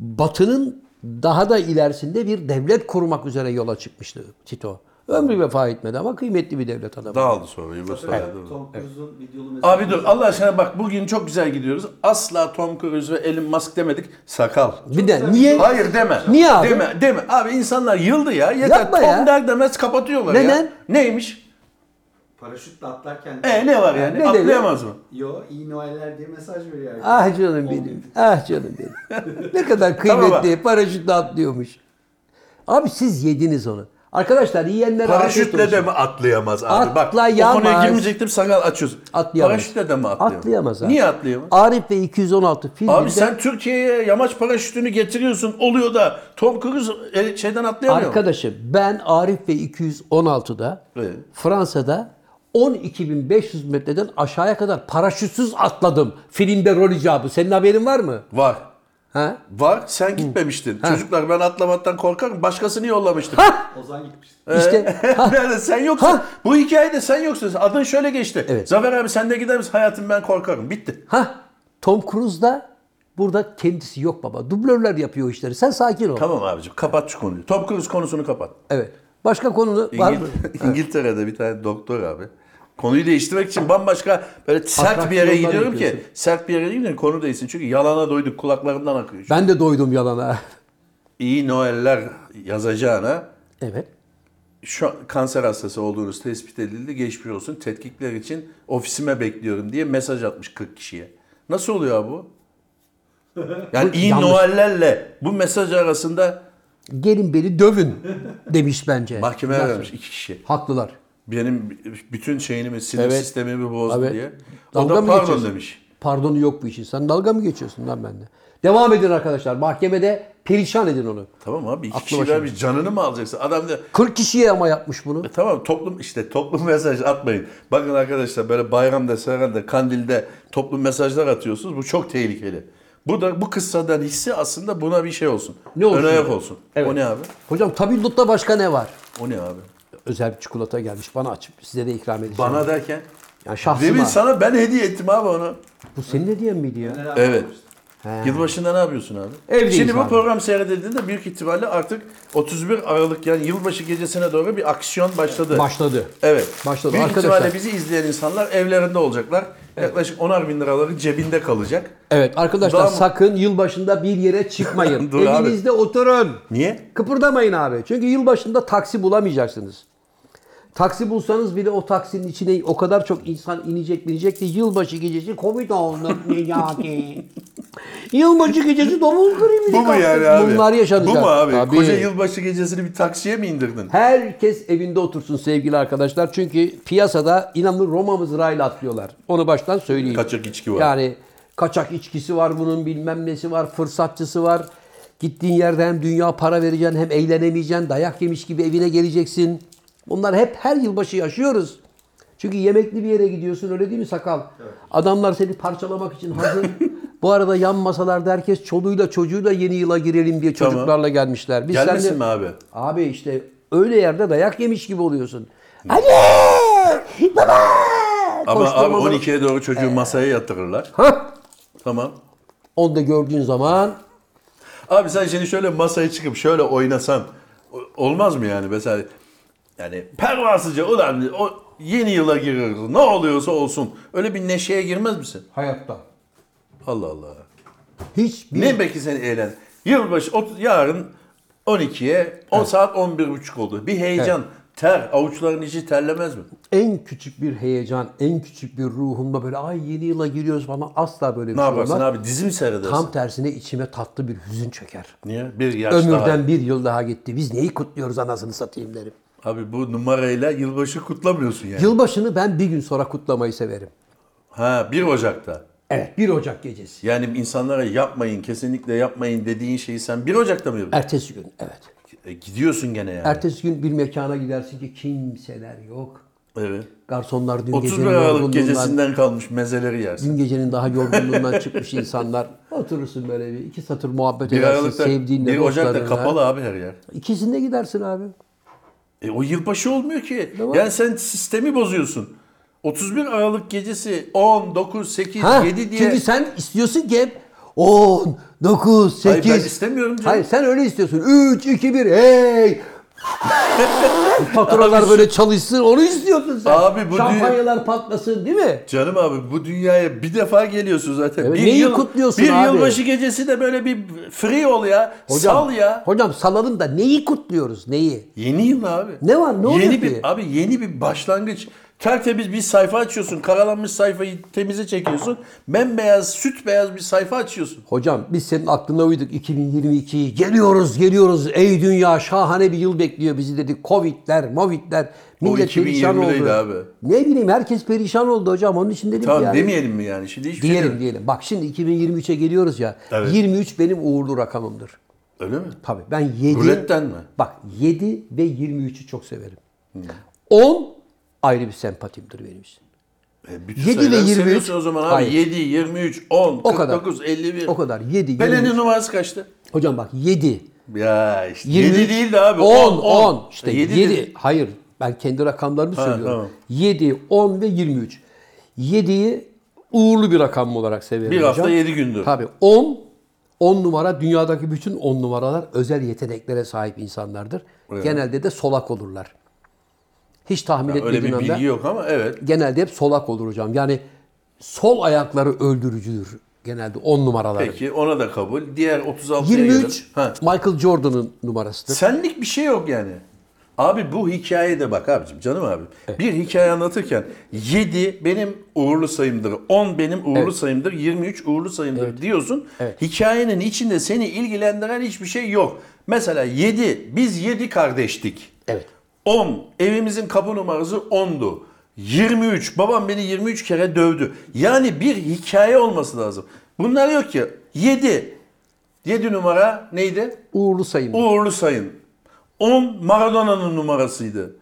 Batı'nın daha da ilerisinde bir devlet kurmak üzere yola çıkmıştı Tito. Ömrü vefa etmedi ama kıymetli bir devlet adamı.
Dağıldı sonra Yugoslavya'da.
Tom Cruise'un videolu mesajı.
Abi dur Allah aşkına bak bugün çok güzel gidiyoruz. Asla Tom Cruise ve Elon Musk demedik. Sakal.
bir de niye?
Hayır deme.
Niye abi?
Deme, deme. Abi insanlar yıldı ya. Yeter
Yapma
Tom
ya.
der demez kapatıyorlar ya.
Neden?
Neymiş?
Paraşütle atlarken.
E ne var yani?
Ne dedi?
Atlayamaz mı?
Yo iyi Noeller diye mesaj veriyor. herkes.
Ah canım
On
benim.
gün.
Ah canım benim. ne kadar
Tamam
kıymetli paraşütle atlıyormuş. Abi siz yediniz onu. Arkadaşlar yiyenlere afiyet
Paraşütle
olsun.
de mi atlayamaz abi?
Atlayamaz.
Bak o konuya girmeyecektim sakal açıyoruz.
Atlayamaz.
Paraşütle de mi atlayamaz?
Atlayamaz abi.
Niye atlayamaz?
Arif ve 216 filminde
Abi sen Türkiye'ye yamaç paraşütünü getiriyorsun oluyor da Tom Cruise e, şeyden atlayamıyor. mu?
Arkadaşım ben Arif ve 216'da
Evet.
Fransa'da 12.500 metreden aşağıya kadar paraşütsüz atladım. Filmde rol icabı. Senin haberin var mı?
Var.
Ha?
Var sen gitmemiştin. Çocuklar ben atlamaktan korkarım. Başkasını yollamıştım. <laughs>
Ozan gitmişti.
Ee?
İşte
Nerede? sen yoksun.
Ha.
Bu hikayede sen yoksun. Adın şöyle geçti.
Evet.
Zafer abi sen de gider misin? Hayatım ben korkarım. Bitti.
ha Tom Cruise da burada kendisi yok baba. Dublörler yapıyor o işleri. Sen sakin ol.
Tamam abicim kapat şu konuyu. Top Cruise konusunu kapat.
Evet. Başka konu var mı?
İngil- İngiltere'de bir tane doktor abi. Konuyu değiştirmek için bambaşka böyle sert bir yere
Atraksiyonlar
gidiyorum ki.
yapıyorsun.
Sert bir yere gidiyorum konu değilsin. Çünkü yalana doyduk kulaklarından akıyor.
Ben de doydum yalana.
İyi Noeller yazacağına
Evet.
şu an kanser hastası olduğunuz tespit edildi. Geçmiş olsun. Tetkikler için ofisime bekliyorum diye mesaj atmış 40 kişiye. Nasıl oluyor bu?
<laughs>
Yani iyi
yanlış.
Noellerle bu mesaj arasında
Gelin beni dövün demiş bence.
mahkemeye
Nasıl?
vermiş iki kişi.
Haklılar.
Benim bütün şeyimi, sinir
Evet.
sistemimi bozdu
Evet.
diye. O
Dalga
da
mı
pardon
geçiyorsun?
demiş.
Pardonu yok bu işin. Sen dalga mı geçiyorsun lan bende? Devam edin arkadaşlar. Mahkemede perişan edin onu.
Tamam abi iki
Aklı
kişi
başında.
vermiş. Canını mı alacaksın? Adam da
40 kişiye ama yapmış bunu.
E Tamam toplum işte toplum <laughs> mesaj atmayın. Bakın arkadaşlar böyle bayramda, seyranda, kandilde toplum mesajlar atıyorsunuz. Bu çok tehlikeli. Bu da bu kıssadan hissi aslında buna bir şey olsun.
Ne olsun?
Ön ayak olsun. O ne abi?
Hocam tabildutta başka ne var?
O ne abi?
Özel bir çikolata gelmiş bana açıp size de ikram edeceğim.
Bana derken
yani
demin
şahsıma.
sana ben hediye ettim abi onu.
Bu senin hediyen miydi ya?
Neler
Evet.
yapmıştı?
Yılbaşında ne yapıyorsun abi?
Evdeyiz
Şimdi bu
abi.
program seyredildiğinde büyük ihtimalle artık 31 Aralık yani yılbaşı gecesine doğru bir aksiyon başladı.
Başladı.
Evet.
Başladı.
Büyük
Arkadaşlar.
ihtimalle bizi izleyen insanlar evlerinde olacaklar. Yaklaşık 10'ar bin liraları cebinde kalacak.
Evet arkadaşlar
Daha-
sakın yılbaşında bir yere çıkmayın.
<laughs> Dur abi.
Evinizde oturun.
Niye?
Kıpırdamayın abi. Çünkü yılbaşında taksi bulamayacaksınız. Taksi bulsanız bile o taksinin içine o kadar çok insan inecek binecek ki yılbaşı gecesi Covid oldu Necati. yılbaşı gecesi domuz gribi.
Bu mu yani abi?
Bunlar yaşanacak.
Bu mu abi?
Tabii.
Koca yılbaşı gecesini bir taksiye mi indirdin?
Herkes evinde otursun sevgili arkadaşlar. Çünkü piyasada inanın Roma mızrağıyla atlıyorlar. Onu baştan söyleyeyim.
Kaçak içki var.
Yani kaçak içkisi var bunun bilmem nesi var. Fırsatçısı var. Gittiğin yerde hem dünya para vereceksin hem eğlenemeyeceksin. Dayak yemiş gibi evine geleceksin. Bunlar hep her yılbaşı yaşıyoruz. Çünkü yemekli bir yere gidiyorsun öyle değil mi sakal? Adamlar seni parçalamak için
<laughs>
hazır. Bu arada yan masalarda herkes çoluğuyla çocuğuyla yeni yıla girelim diye
Tamam.
çocuklarla gelmişler. Biz
Gelmesin
seninle-
mi abi?
Abi işte öyle yerde dayak yemiş gibi oluyorsun. Anne! Baba!
Ama abi
Koşturmadan-
12'ye doğru çocuğu masaya yatırırlar.
Hah!
Tamam.
Onu da gördüğün zaman
Abi sen şimdi şöyle masaya çıkıp şöyle oynasan o- olmaz mı yani mesela? Yani pervasızca ulan o yeni yıla giriyoruz. Ne oluyorsa olsun. Öyle bir neşeye girmez misin?
hayatta
Allah Allah.
hiçbir
Ne belki seni eğlen. Yılbaşı ot- yarın 12'ye 10 saat 11.30 oldu. Bir heyecan, ter, avuçların içi terlemez mi?
en küçük bir heyecan, en küçük bir ruhumda böyle ay yeni yıla giriyoruz falan asla böyle bir
Ne
şey
yaparsın
olmaz.
abi? Dizi mi seyredersin?
Tam tersine içime tatlı bir hüzün çöker.
Niye? Bir yaş
Ömürden
daha.
bir yıl daha gitti. Biz neyi kutluyoruz anasını satayım derim.
Abi bu numarayla yılbaşı kutlamıyorsun yani.
Yılbaşını ben bir gün sonra kutlamayı severim.
Ha 1 Ocak'ta.
Evet 1 Ocak gecesi.
Yani insanlara yapmayın, kesinlikle yapmayın dediğin şeyi sen 1 Ocak'ta mı yapıyorsun?
Ertesi gün evet.
E, gidiyorsun gene yani.
Ertesi gün bir mekana gidersin ki kimseler yok.
evet.
Garsonlar dün
31
gecenin
Aralık
yorgunluğundan,
gecesinden kalmış mezeleri yersin.
dün gecenin daha yorgunluğundan çıkmış insanlar. Oturursun böyle bir iki satır muhabbet
1
edersin
Aralık'ta,
sevdiğinle,
1 Ocak'ta
dostlarınla.
kapalı abi her yer.
İkisinde gidersin abi.
E o yılbaşı olmuyor ki. Yani sen sistemi bozuyorsun. 31 Aralık gecesi 10, 9, 8,
Ha,
7 diye.
Çünkü sen istiyorsun ki hep 10, 9, 8.
Hayır ben istemiyorum canım.
Hayır sen öyle istiyorsun. 3, 2, 1
<laughs>
hey. Faturalar böyle çalışsın onu istiyorsun sen.
Abi bu
Şampanyalar patlasın değil mi?
Canım abi bu dünyaya bir defa geliyorsun zaten.
Evet,
bir
neyi kutluyorsun
bir
abi?
yılbaşı gecesi de böyle bir free ol ya. sal ya.
Hocam salalım da neyi kutluyoruz neyi?
Yeni yıl abi.
Ne var, ne
yeni
oluyor
bir,
ki?
Abi yeni bir başlangıç. Tertemiz bir sayfa açıyorsun. Karalanmış sayfayı temize çekiyorsun. Bembeyaz, süt beyaz bir sayfa açıyorsun.
Hocam biz senin aklına uyduk 2022 geliyoruz geliyoruz ey dünya şahane bir yıl bekliyor bizi dedik Covid'ler, Movid'ler millet perişan
2020'deydi
oldu.
abi.
Ne bileyim herkes perişan oldu hocam onun için dedim
Tamam
yani.
demeyelim mi yani? Şimdi hiçbir şey
Diyelim
demiyorum.
diyelim. Bak şimdi 2023'e geliyoruz ya.
Evet.
23 benim uğurlu rakamımdır.
Öyle mi?
Tabii ben 7
Ruletten mi?
Bak 7
Hmm.
ve 23'ü çok severim. 10 ayrı bir sempatimdir benim için.
E, bütün
7 ve
sayıları
23.
seviyorsun o zaman abi.
Hayır.
7, 23, 10,
O kadar.
49, 51.
O kadar 7.
Pelin'in numarası kaçtı?
Hocam bak 7.
Ya işte
23,
7 değil de abi
10,
10
10. İşte 7,
7.
Hayır ben kendi rakamlarımı
Ha,
söylüyorum.
tamam.
7, 10 ve 23. 7'yi uğurlu bir rakam olarak severim
Bir
hocam.
hafta 7 gündür.
Tabii 10, 10 numara dünyadaki bütün 10 numaralar özel yeteneklere sahip insanlardır. Genelde de solak olurlar. Hiç tahmin
Öyle
etmediğin
bir
anda
bilgi yok ama evet.
genelde hep solak olur hocam. Yani sol ayakları öldürücüdür genelde 10 numaraları.
Peki ona da kabul. Diğer 36'ya
23
gelelim. Ha.
Michael Jordan'ın numarasıdır.
Senlik bir şey yok yani. Abi bu hikayede bak abicim canım abi. Bir hikaye anlatırken 7 benim uğurlu sayımdır, 10 benim uğurlu sayımdır, 23 uğurlu sayımdır diyorsun.
Evet.
Hikayenin içinde seni ilgilendiren hiçbir şey yok. Mesela 7 biz 7 kardeştik.
Evet.
10 evimizin kapı numarası 10'du. 23 babam beni 23 kere dövdü. Yani bir hikaye olması lazım. Bunlar yok ki. 7 7 numara neydi?
Uğurlu sayım.
Uğurlu Sayın. 10 Maradona'nın numarasıydı.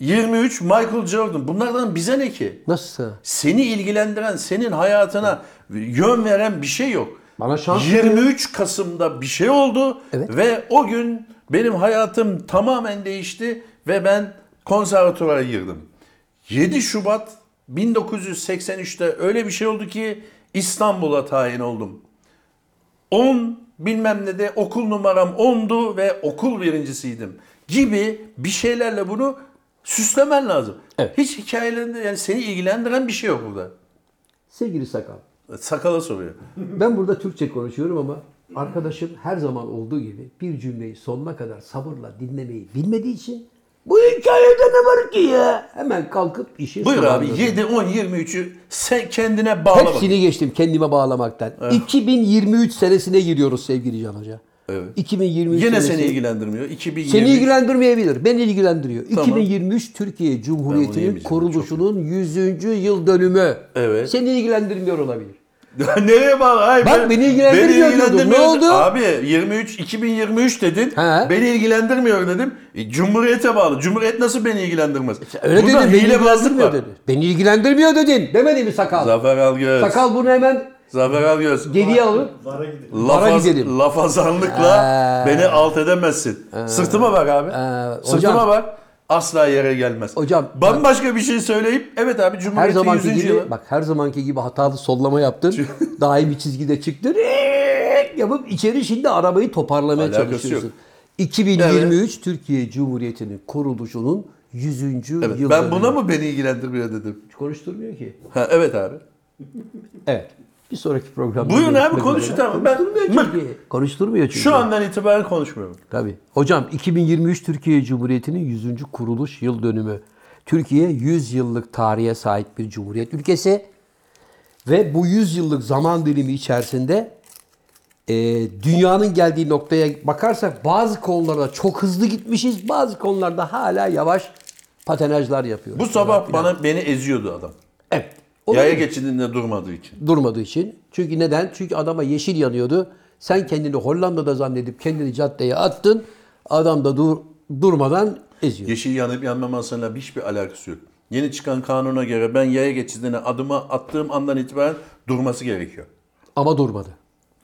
23 Michael Jordan. Bunlardan bize ne ki?
Nasıl?
Seni ilgilendiren, senin hayatına yön veren bir şey yok.
Bana şans
23 Kasım'da bir şey oldu
Evet.
ve o gün benim hayatım tamamen değişti ve ben konservatuvara girdim. 7 Şubat 1983'te öyle bir şey oldu ki İstanbul'a tayin oldum. 10 bilmem ne de okul numaram 10'du ve okul birincisiydim gibi bir şeylerle bunu süslemen lazım.
Evet.
Hiç hikayelerinde yani seni ilgilendiren bir şey yok burada.
Sevgili Sakal.
Sakala soruyor.
Ben burada Türkçe konuşuyorum ama arkadaşım her zaman olduğu gibi bir cümleyi sonuna kadar sabırla dinlemeyi bilmediği için bu hikayede ne var ki ya? Hemen kalkıp işi
Buyur abi
sonlandırdı.
7, 10, 23'ü sen kendine bağla bak.
Hepsini geçtim kendime bağlamaktan. 2023 senesine giriyoruz sevgili Can Hoca.
Evet.
2023
Yine
senesi-
seni ilgilendirmiyor. 2020.
Seni ilgilendirmeyebilir. Beni ilgilendiriyor.
Tamam.
2023 Türkiye Cumhuriyeti'nin
yemeyeceğim,
kuruluşunun 100. yıl dönümü.
Evet.
Seni ilgilendirmiyor olabilir.
<laughs> Nereye bağlı? Hayır,
Bak, beni ilgilendirmiyor diyordun. Ne oldu?
Abi 23, 2023 dedin.
He.
Beni ilgilendirmiyor dedim. E, Cumhuriyete bağlı. Cumhuriyet nasıl beni ilgilendirmez?
Öyle
Burada
dedin. Beni
hilebazlık
ilgilendirmiyor
var.
dedin. Beni ilgilendirmiyor dedin. Demedi mi sakal?
Zafer Algöz.
Sakal bunu hemen
Zafer Algöz.
geriye alıp
Vara gidelim.
Bara
Lafaz,
gidelim.
lafazanlıkla
Ee.
beni alt edemezsin. Sırtıma bak abi.
Ee,
Sırtıma
hocam.
bak. Asla yere gelmez.
Hocam,
Bambaşka bir şey söyleyip evet abi
her
Cumhuriyet'in
zamanki
100.
gibi
yılı.
bak her zamanki gibi hatalı sollama yaptın. <laughs> Daimi çizgide çıktın. Eek yapıp içeri şimdi arabayı toparlamaya
Alakası
çalışıyorsun.
yok.
2023 Türkiye Cumhuriyeti'nin kuruluşunun 100.
Evet,
yıl
ben
dönümü.
buna mı beni ilgilendirmiyor dedim.
Hiç konuşturmuyor ki.
Ha, evet abi.
Evet. Bir sonraki programda.
Buyurun
görüşmek
abi, konuşun,
üzere.
tamam. Ben-
Konuşturmuyor çünkü. Konuşturmuyor çünkü.
Şu andan itibaren konuşmuyorum.
Tabii. Hocam 2023 Türkiye Cumhuriyeti'nin 100. kuruluş yıl dönümü. Türkiye 100 yıllık tarihe sahip bir cumhuriyet ülkesi ve bu 100 yıllık zaman dilimi içerisinde e, dünyanın geldiği noktaya bakarsak bazı konularda çok hızlı gitmişiz, bazı konularda hala yavaş patenajlar yapıyoruz.
Bu sabah bana beni eziyordu adam.
evet.
Yaya
Olabilir.
geçidinde durmadığı için.
durmadığı için. Çünkü neden? Çünkü adama yeşil yanıyordu. Sen kendini Hollanda'da zannedip kendini caddeye attın. Adam da dur, durmadan eziyor.
Yeşil yanıp yanmamasıyla hiçbir alakası yok. Yeni çıkan kanuna göre ben yaya geçidine adımı attığım andan itibaren durması gerekiyor.
Ama durmadı.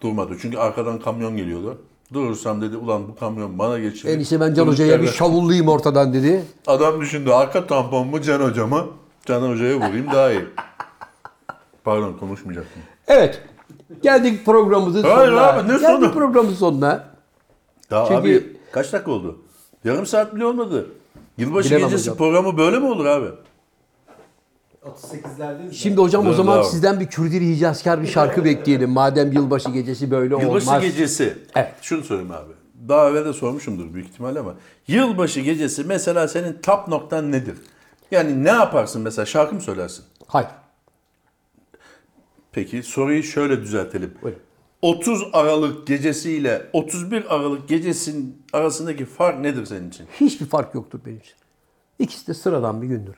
Durmadı. Çünkü arkadan kamyon geliyordu. Durursam dedi ulan bu kamyon bana geçiyor.
En iyisi ben Can Hoca'ya bir şavullayayım ortadan dedi.
Adam düşündü arka tampon mu Can Hoca mı? Can Hoca'ya vurayım daha iyi. Pardon konuşmayacaktım.
Evet. Geldik programımızın sonuna.
Hayır abi, ne
Geldik
sonu?
programımızın sonuna.
Daha
Çünkü-
abi kaç dakika oldu? Yarım saat bile olmadı. Yılbaşı
Bilemem
gecesi
hocam.
programı böyle mi olur abi?
38'lerdeyiz.
Şimdi hocam o
Evet,
zaman
bravo.
sizden bir Kürdili Hicazkar bir şarkı bekleyelim. Madem yılbaşı gecesi böyle
Yılbaşı
olmaz.
gecesi.
Evet.
Şunu sorayım abi. Daha evvel de sormuşumdur büyük ihtimalle ama. Yılbaşı gecesi mesela senin tap noktan nedir? Yani ne yaparsın mesela şarkı mı söylersin?
Hayır.
Peki soruyu şöyle düzeltelim.
Buyurun.
30 Aralık gecesiyle 31 Aralık gecesinin arasındaki fark nedir senin için?
Hiçbir fark yoktur benim için. İkisi de sıradan bir gündür.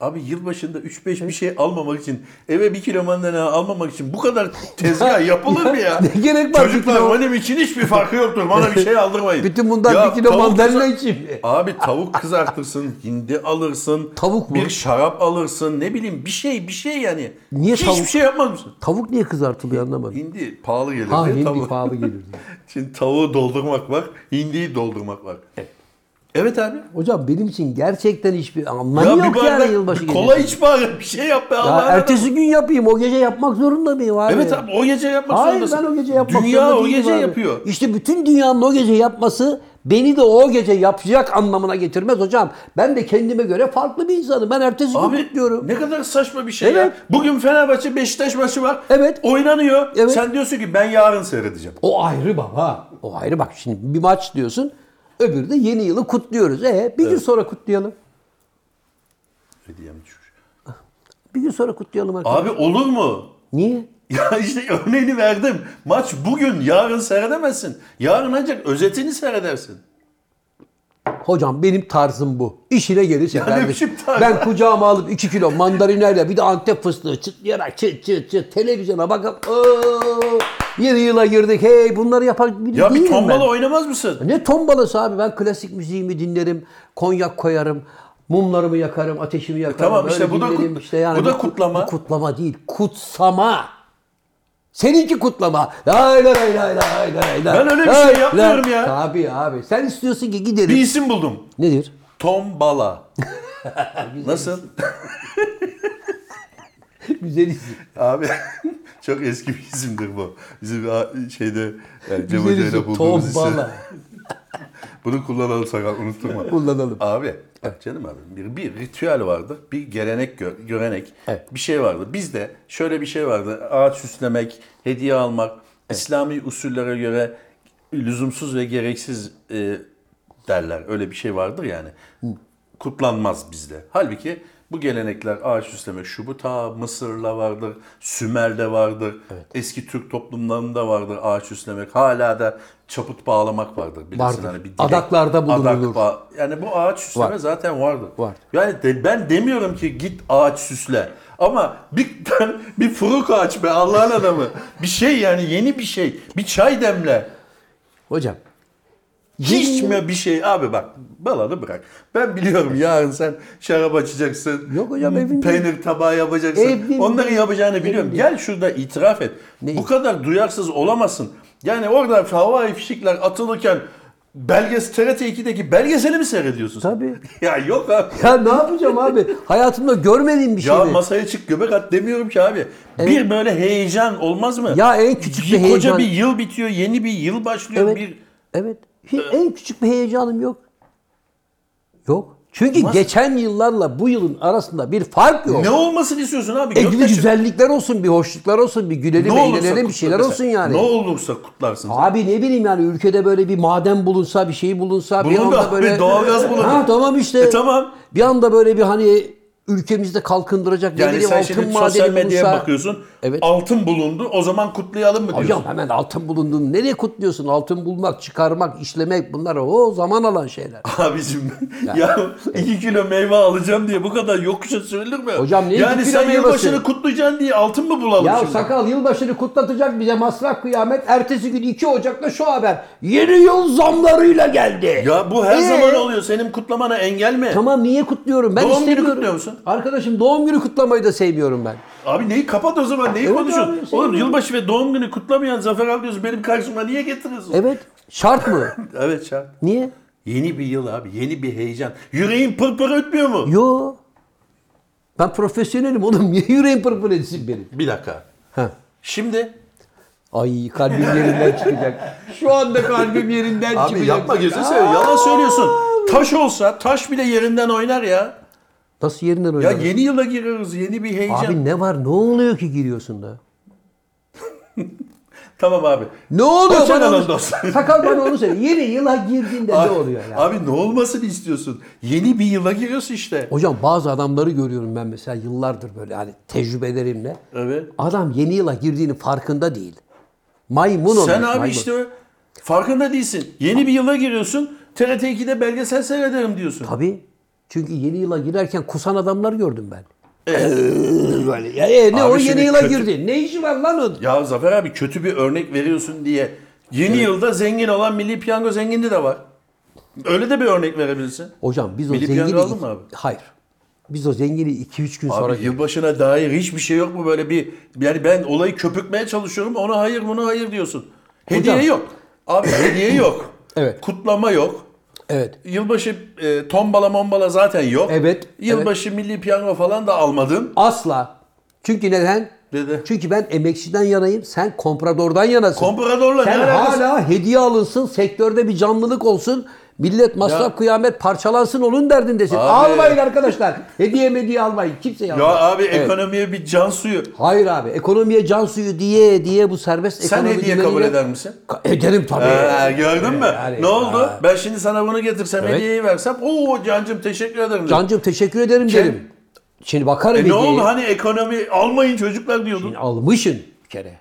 Abi yılbaşında 3-5 bir şey almamak için, eve bir kilo mandalina almamak için bu kadar tezgah yapılır mı ya?
<laughs> Ne gerek var?
Çocuklar
Bir kilo-
benim için hiçbir farkı yoktur. Bana bir şey
<laughs>
aldırmayın.
Bütün bundan
Ya
bir kilo
tavuk
mandalina
kızar-
için.
Abi tavuk kızartırsın, hindi alırsın.
Tavuk mu?
Bir şarap alırsın. Ne bileyim bir şey bir şey yani.
Niye
Hiçbir
tavuk-
şey yapmaz mısın?
Tavuk niye kızartılıyor anlamadım.
Hindi pahalı gelir.
Ha
diye
hindi
E, tavuk-
pahalı gelirdi.
<laughs> Şimdi tavuğu doldurmak var, hindiyi doldurmak var. Evet abi.
Hocam benim için gerçekten hiçbir anlamı Hani yok
bir
yani
bardak
yılbaşı
bir
gecesi.
kola iç bari bir şey yap be
Ya
Allah
ertesi gün yapayım. O gece yapmak zorunda mıyım abi?
Evet abi o gece yapmak
Hayır
zorundasın.
ben o gece yapmak
Dünya
zorunda
o
değilim
gece
abi.
yapıyor.
İşte bütün dünyanın o gece yapması beni de o gece yapacak anlamına getirmez hocam. Ben de kendime göre farklı bir insanım. Ben ertesi gün
Abi
kutluyorum.
ne kadar saçma bir şey ya.
Evet.
Bugün Fenerbahçe Beşiktaş maçı var.
Evet.
Oynanıyor.
Evet.
Sen diyorsun ki ben yarın seyredeceğim.
O ayrı baba. O ayrı bak şimdi bir maç diyorsun. Öbürü de yeni yılı kutluyoruz. E bir gün sonra kutlayalım.
Hediyem düşmüş.
Bir gün sonra kutlayalım arkadaşlar.
Abi olur mu? <laughs>
Niye?
Ya işte örneğini verdim. Maç bugün, yarın seyredemezsin. Yarın ancak özetini seyredersin.
Hocam benim tarzım bu. İşine gelirse
Yani
kardeşim.
bizim tarz-
Ben kucağıma alıp 2 kilo mandalinayla bir de antep fıstığı çıtlayarak çıt çıt çıt televizyona bakıp "Oo, yeni yıla girdik hey bunları yapar biri
Ya bir
değilim
tombala
ben. Hani
oynamaz mısın?
Ne tombalası abi ben klasik müziğimi dinlerim, konyak koyarım, mumlarımı yakarım, ateşimi yakarım.
tamam
böyle
işte bu da kut-
dinlerim. İşte yani
bu da
kut-
kutlama.
bu kutlama değil, kutsama. Seninki kutlama. Lay lay lay lay lay lay lay.
Ben öyle bir
Lay
şey
lay.
yapmıyorum ya.
Tabii abi. Sen istiyorsun ki gidelim.
Bir isim buldum.
Nedir?
<laughs> Tombala. Nasıl?
Güzel isim.
<laughs> Abi <laughs> çok eski bir isimdir bu. Bizim a- şeyde yani Cem
Güzel
Hoca
isim.
ile bulduğumuz isim. <laughs>
Tombala.
Bunu kullanalım sakal unutturma.
Kullanalım.
Abi bak canım abi bir, bir ritüel vardı. Bir gelenek gö- görenek.
Evet.
Bir şey vardı. Bizde şöyle bir şey vardı. Ağaç süslemek, hediye almak. İslami usullere göre lüzumsuz ve gereksiz e, derler. Öyle bir şey vardır yani. Kutlanmaz bizde. Halbuki bu gelenekler ağaç süslemek şu bu ta Mısır'la vardır, Sümer'de vardır, eski Türk toplumlarında vardır ağaç süslemek. Hala da çaput bağlamak vardır. Bilirsin
Vardır.
hani bir dilek-
Adaklarda bulunulur.
Adak bağ- yani bu ağaç süsleme
Var.
zaten vardır.
Var.
Yani de- ben demiyorum ki git ağaç süsle. Ama bir <laughs> tane bir furuk ağaç be Allah'ın adamı. Bir şey yani yeni bir şey. Bir çay demle.
Hocam.
Hiç
Yeni-
mi bir şey? Abi bak balanı bırak. Ben biliyorum yarın sen şarap açacaksın.
Yok hocam, evimde-
Peynir tabağı yapacaksın.
Evimde-
Onları yapacağını biliyorum. Gel şurada itiraf et. Bu kadar duyarsız olamazsın. Yani orada havai fişikler atılırken belges TRT 2'deki belgeseli mi seyrediyorsun? sen?
Tabii.
<laughs> ya yok abi.
Ya ne yapacağım abi? Hayatımda görmediğim bir şey.
Ya masaya çık göbek at demiyorum ki abi. Bir böyle heyecan olmaz mı?
Ya en küçük bir
Koca
heyecan.
bir yıl bitiyor, yeni bir yıl başlıyor.
Evet.
Bir
Evet. Hi- En küçük bir heyecanım yok. Yok. Çünkü
Olmaz.
geçen yıllarla bu yılın arasında bir fark yok.
ne olmasını istiyorsun abi?
E bir de
Göktaş'ım.
güzellikler olsun, bir hoşluklar olsun, bir gülelim, eğlenelim, bir
kutla
şeyler
mesela.
olsun yani.
Ne olursa kutlarsın.
Abi ne bileyim yani ülkede böyle bir maden bulunsa, bir şey bulunsa, bir
Bulundu
anda
abi,
böyle...
doğalgaz bulundu.
Ha tamam işte.
E tamam.
Bir anda böyle bir hani ülkemizde kalkındıracak ne
Yani
bileyim
sen
altın
şimdi
madeni
sosyal medyaya
bulunsa-
bakıyorsun.
Evet.
Altın bulundu. O zaman kutlayalım mı diyorsun?
Hocam hemen altın bulunduğunu nereye kutluyorsun? Altın bulmak, çıkarmak, işlemek bunlar o zaman alan şeyler.
<laughs> Abicim ya 2 kilo meyve alacağım diye bu kadar yokuşa sürülür mü?
Hocam niye
Yani
iki kilo
sen
meyvesi?
yılbaşını kutlayacaksın diye altın mı bulalım
Ya
şimdi?
sakal yılbaşını kutlatacak bize masraf kıyamet. Ertesi gün 2 Ocak'ta şu haber. Yeni yıl zamlarıyla geldi.
Ya bu her
Ee?
zaman oluyor. Senin kutlamana engel mi?
Tamam niye kutluyorum? Ben
Doğum günü
istemiyorum.
kutluyor musun?
Arkadaşım doğum günü kutlamayı da sevmiyorum ben.
Abi neyi kapat o zaman? Neyi
Evet
konuşuyorsun?
abi, şey senin
Oğlum
de-
yılbaşı ve doğum günü kutlamayan Zafer abi diyorsun. Benim karşıma niye getiriyorsun?
Evet. Şart mı?
<laughs> evet şart.
niye?
Yeni bir yıl abi. Yeni bir heyecan. Yüreğin pır pır ötmüyor mu?
Yo. Ben profesyonelim oğlum. <laughs> Niye yüreğim pırpır etsin benim?
Bir dakika.
Heh.
Şimdi
Ay kalbim yerinden çıkacak. Şu anda kalbim yerinden
abi
çıkacak.
yapma gözünü seveyim. Yalan söylüyorsun. Taş olsa taş bile yerinden oynar ya.
Nasıl yerinden
Ya
oynadın?
yeni yıla giriyoruz. Yeni bir heyecan.
Abi ne var? Ne oluyor ki giriyorsun da?
Tamam abi.
Ne oluyor?
Hoşça
bana
kalın
onu- <laughs>
dostlar.
Sakal bana onu söyle. Yeni yıla girdiğinde ne
Abi,
oluyor ya?
abi ne olmasını istiyorsun? Yeni bir yıla giriyorsun işte.
Hocam bazı adamları görüyorum ben mesela yıllardır böyle hani tecrübelerimle.
Evet.
Adam yeni yıla girdiğinin farkında değil. Maymun olmuş.
Sen abi
maymun.
işte o- farkında değilsin. Yeni bir yıla giriyorsun. TRT 2'de belgesel seyrederim diyorsun.
Tabii. Çünkü yeni yıla girerken kusan adamlar gördüm ben. <laughs> Böyle. Ya, e, ne
Abi
o
şimdi
yeni yıla
kötü-
girdi. Ne işi var lan onun?
Ya Zafer abi kötü bir örnek veriyorsun diye yeni yılda zengin olan Milli Piyango zengini de var. Öyle de bir örnek verebilirsin.
Hocam biz o
Milli
zengini...
Piyango aldın mı abi?
Hayır. Biz o zengini 2-3 gün sonra...
Abi yılbaşına dair hiçbir şey yok mu böyle bir yani ben olayı köpükmeye çalışıyorum ona hayır buna hayır diyorsun. Hediye
Hocam.
yok. Abi hediye yok.
<clears throat> Evet.
Kutlama yok.
Evet.
Yılbaşı e, tombala mombala zaten yok.
Evet,
Yılbaşı milli piyango falan da almadın.
Asla. Çünkü neden?
Dedi.
Çünkü ben emekçiden yanayım, sen kompradordan yanasın.
Kompradorla ne
sen
alakası?
hala hediye alınsın, sektörde bir canlılık olsun, millet masraf
Ya.
kıyamet parçalansın onun derdindesin.
Abi.
Almayın
<laughs>
arkadaşlar. hediye hediye almayın. Kimseye
Ya
almayın.
abi
Evet.
ekonomiye bir can suyu.
Hayır abi. Ekonomiye can suyu diye diye bu serbest
Sen
ekonomi
hediye
dümeniyle-
kabul eder misin?
Ka- Ederim tabii.
Ee, gördün mü?
Yani-
ne oldu?
Aa.
Ben şimdi sana bunu getirsem
Evet.
hediyeyi versem. Oo Can'cım teşekkür ederim. dedim.
Cancım teşekkür ederim
Kim?
derim. Şimdi bakarım
E ne
hediyeye.
oldu hani ekonomi almayın çocuklar diyordun.
Almışsın bir kere.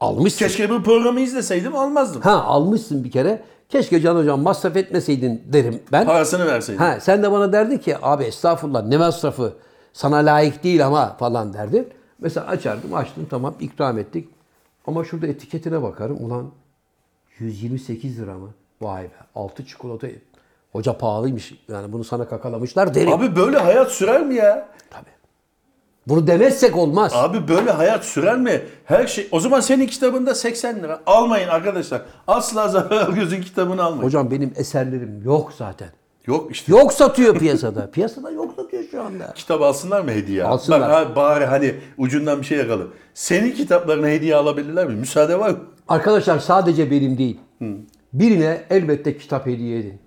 Almışsın.
Keşke bu programı izleseydim almazdım.
Ha almışsın bir kere. Keşke Can Hocam masraf etmeseydin derim ben.
Parasını verseydim.
Ha sen de bana derdin ki abi estağfurullah ne masrafı sana layık değil ama falan derdin. Mesela açardım açtım tamam ikram ettik. Ama şurada etiketine bakarım ulan 128 lira mı? Vay be 6 çikolata hoca pahalıymış yani bunu sana kakalamışlar derim.
Abi böyle hayat sürer mi ya?
Tabii. Bunu demezsek olmaz.
Abi böyle hayat sürer mi? Her şey. O zaman senin kitabında 80 lira. Almayın arkadaşlar. Asla <laughs> Zafer Algöz'ün kitabını almayın.
Hocam benim eserlerim yok zaten.
Yok işte.
Yok satıyor
<laughs>
piyasada. piyasada yok satıyor şu anda.
Kitap alsınlar mı hediye?
Alsınlar.
Bak abi bari hani ucundan bir şey yakalı. Senin kitaplarına hediye alabilirler mi? Müsaade var mı?
Arkadaşlar sadece benim değil. Birine elbette kitap hediye edin.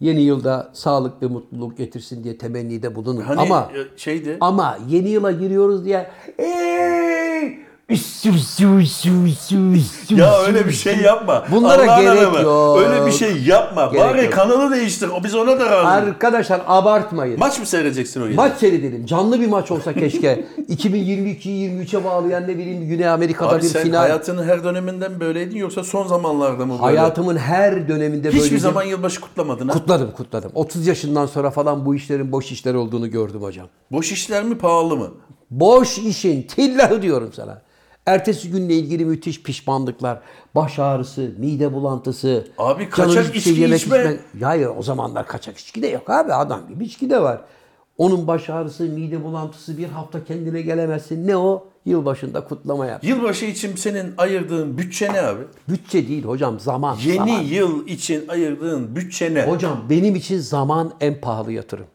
Yeni yılda sağlık ve mutluluk getirsin diye temennide bulunun.
Hani
ama
e, şeydi.
ama yeni yıla giriyoruz diye "Ey, üssü, üssü, üssü, üssü, üssü,
Ya
üssü,
öyle bir
üssü."
şey yapma.
Bunlara
Allah'ın
gerek
adamı.
yok.
Öyle bir şey yapma.
Gerek
Bari
yok.
kanalı değiştir. O biz ona da razı.
Arkadaşlar abartmayın.
Maç mı seyredeceksin o gece?
Maç seyredelim. Canlı bir maç olsa
<laughs>
keşke. 2022'yi 23'e bağlayan ne bileyim Güney Amerika'da
Abi
bir
sen
final.
hayatının her döneminden böyleydin yoksa son zamanlarda mı böyle?
Hayatımın her döneminde
Hiçbir
böyle bir-
zaman yılbaşı kutlamadın ha?
Kutladım kutladım. 30 yaşından sonra falan bu işlerin boş işler olduğunu gördüm hocam.
Boş işler mi pahalı mı?
Boş işin tillahı diyorum sana. Ertesi günle ilgili müthiş pişmanlıklar, baş ağrısı, mide bulantısı.
Abi
canın
kaçak
hiçbir şey
içki içme.
Ya hayır, o zamanlar kaçak içki de yok abi adam gibi içki de var. Onun baş ağrısı, mide bulantısı bir hafta kendine gelemezsin. Ne o? Yılbaşında kutlama yap.
Yılbaşı için senin ayırdığın bütçe ne abi?
Bütçe değil hocam zaman.
Yeni
zaman.
yıl için ayırdığın bütçe ne?
Hocam benim için zaman en pahalı yatırım.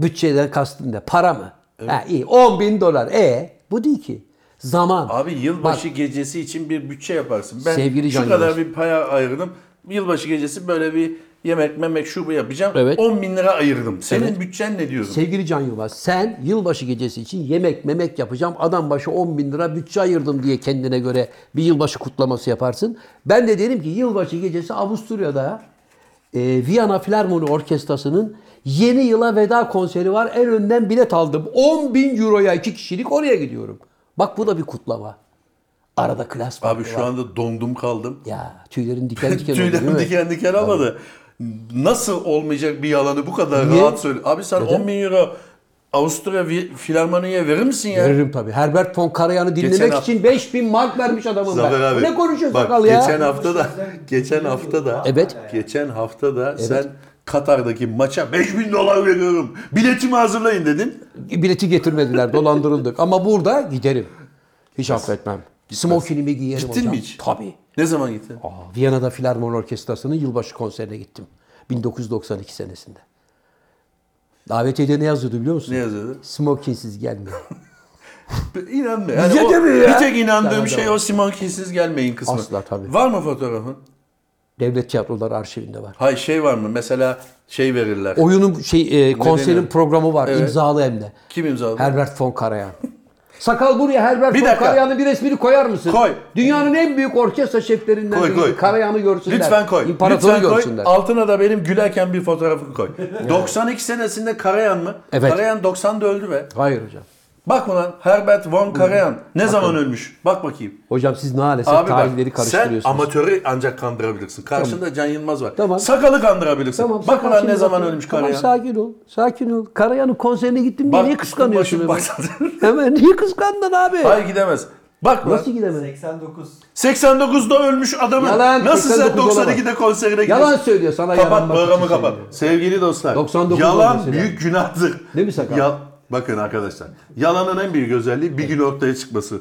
Bütçeden kastım ne? Para mı? Ha, iyi. 10 bin dolar. E bu değil ki. Zaman.
Abi yılbaşı gecesi için bir bütçe yaparsın. Ben
Sevgili Can
şu kadar
Yılmaz.
bir paya ayırdım. Yılbaşı gecesi böyle bir yemek memek şu bu yapacağım.
Evet.
10 bin lira ayırdım. Senin bütçen ne diyorsun?
Sevgili Can Yılmaz sen yılbaşı gecesi için yemek memek yapacağım. Adam başı 10 bin lira bütçe ayırdım diye kendine göre bir yılbaşı kutlaması yaparsın. Ben de derim ki yılbaşı gecesi Avusturya'da e, Viyana Filarmoni Orkestrası'nın yeni yıla veda konseri var. En önden bilet aldım. 10 bin euroya iki kişilik oraya gidiyorum. Bak bu da bir kutlama. Arada klas
Abi
farkı
şu
var.
anda dondum kaldım.
Ya tüylerin diken
<laughs>
diken oldu değil
Tüylerim
mi?
diken diken almadı. Nasıl olmayacak bir yalanı bu kadar
Niye?
rahat söyle. Abi sen 10 bin euro Avusturya Vi- Filarmoni'ye verir misin ya?
Veririm tabii. Herbert von Karajan'ı dinlemek
Geçen hafta-
için 5000 mark vermiş adamım
Zafer
ben.
abi.
Ne konuşuyorsun
bak,
sakal ya?
Geçen hafta da geçen hafta da
Evet.
Geçen hafta da sen Katar'daki maça 5000 dolar veriyorum. Biletimi hazırlayın dedin.
Bileti getirmediler, dolandırıldık. Ama burada giderim. Hiç affetmem. Smokinimi giyerim
Gittin
hocam.
mi hiç?
Tabii.
Ne zaman gittin?
Aa, Viyana'da Filarmoni Orkestrası'nın yılbaşı konserine gittim. 1992 senesinde. Davetiyede ne yazıyordu biliyor musun?
Ne yazıyordu?
Smokinsiz gelmiyor.
İnanma. Yani
Bize
o-
de mi ya?
Bir tek inandığım
Tamam,
şey o Simon Kinsiz gelmeyin kısmı.
Asla, tabii.
Var mı fotoğrafın?
Devlet Tiyatroları arşivinde var.
Hayır şey var mı? Mesela şey verirler.
Oyunun şey e, konserin
denir?
programı var.
Evet.
imzalı hem de.
Kim imzaladı?
Herbert von Karajan. Sakal buraya Herbert
Bir
von
dakika.
Karajan'ın bir resmini koyar mısın?
Koy.
Dünyanın en büyük orkestra şeflerinden
Koy,
biri
koy.
Karajan'ı görsünler.
Lütfen koy.
İmparatoru
Lütfen koy.
görsünler.
Altına da benim gülerken bir fotoğrafını koy. 92 senesinde Karayan mı?
Evet.
Karayan 90'da öldü be.
Hayır hocam.
Bak ulan Herbert von Karajan ne zaman ölmüş? Bak bakayım.
Hocam siz maalesef
Abi
tarihleri
bak sen
karıştırıyorsunuz.
amatörü ancak kandırabilirsin. Karşında Can Yılmaz var.
Tamam.
Sakalı kandırabilirsin. bak
sakin
ulan ne
ol.
zaman ölmüş
Tamam,
Karajan.
sakin ol. Sakin ol. Karayan'ın konserine gittim diye
Bak,
niye kıskanıyorsun hemen? <laughs>
başım
hemen niye kıskandın abi?
Hayır gidemez. Bak lan
Nasıl gidemez?
89.
89'da ölmüş adamın.
Yalan,
Nasıl sen
89'da olamaz.
92'de konserine gidiyorsun?
Yalan söylüyor sana
Kapat
yalan bak.
programı kapat. Sevgili dostlar.
99
yalan
olması
büyük günahtır.
Değil mi Sakal?
Ya- bakın arkadaşlar. Yalanın en büyük özelliği bir gün ortaya çıkması.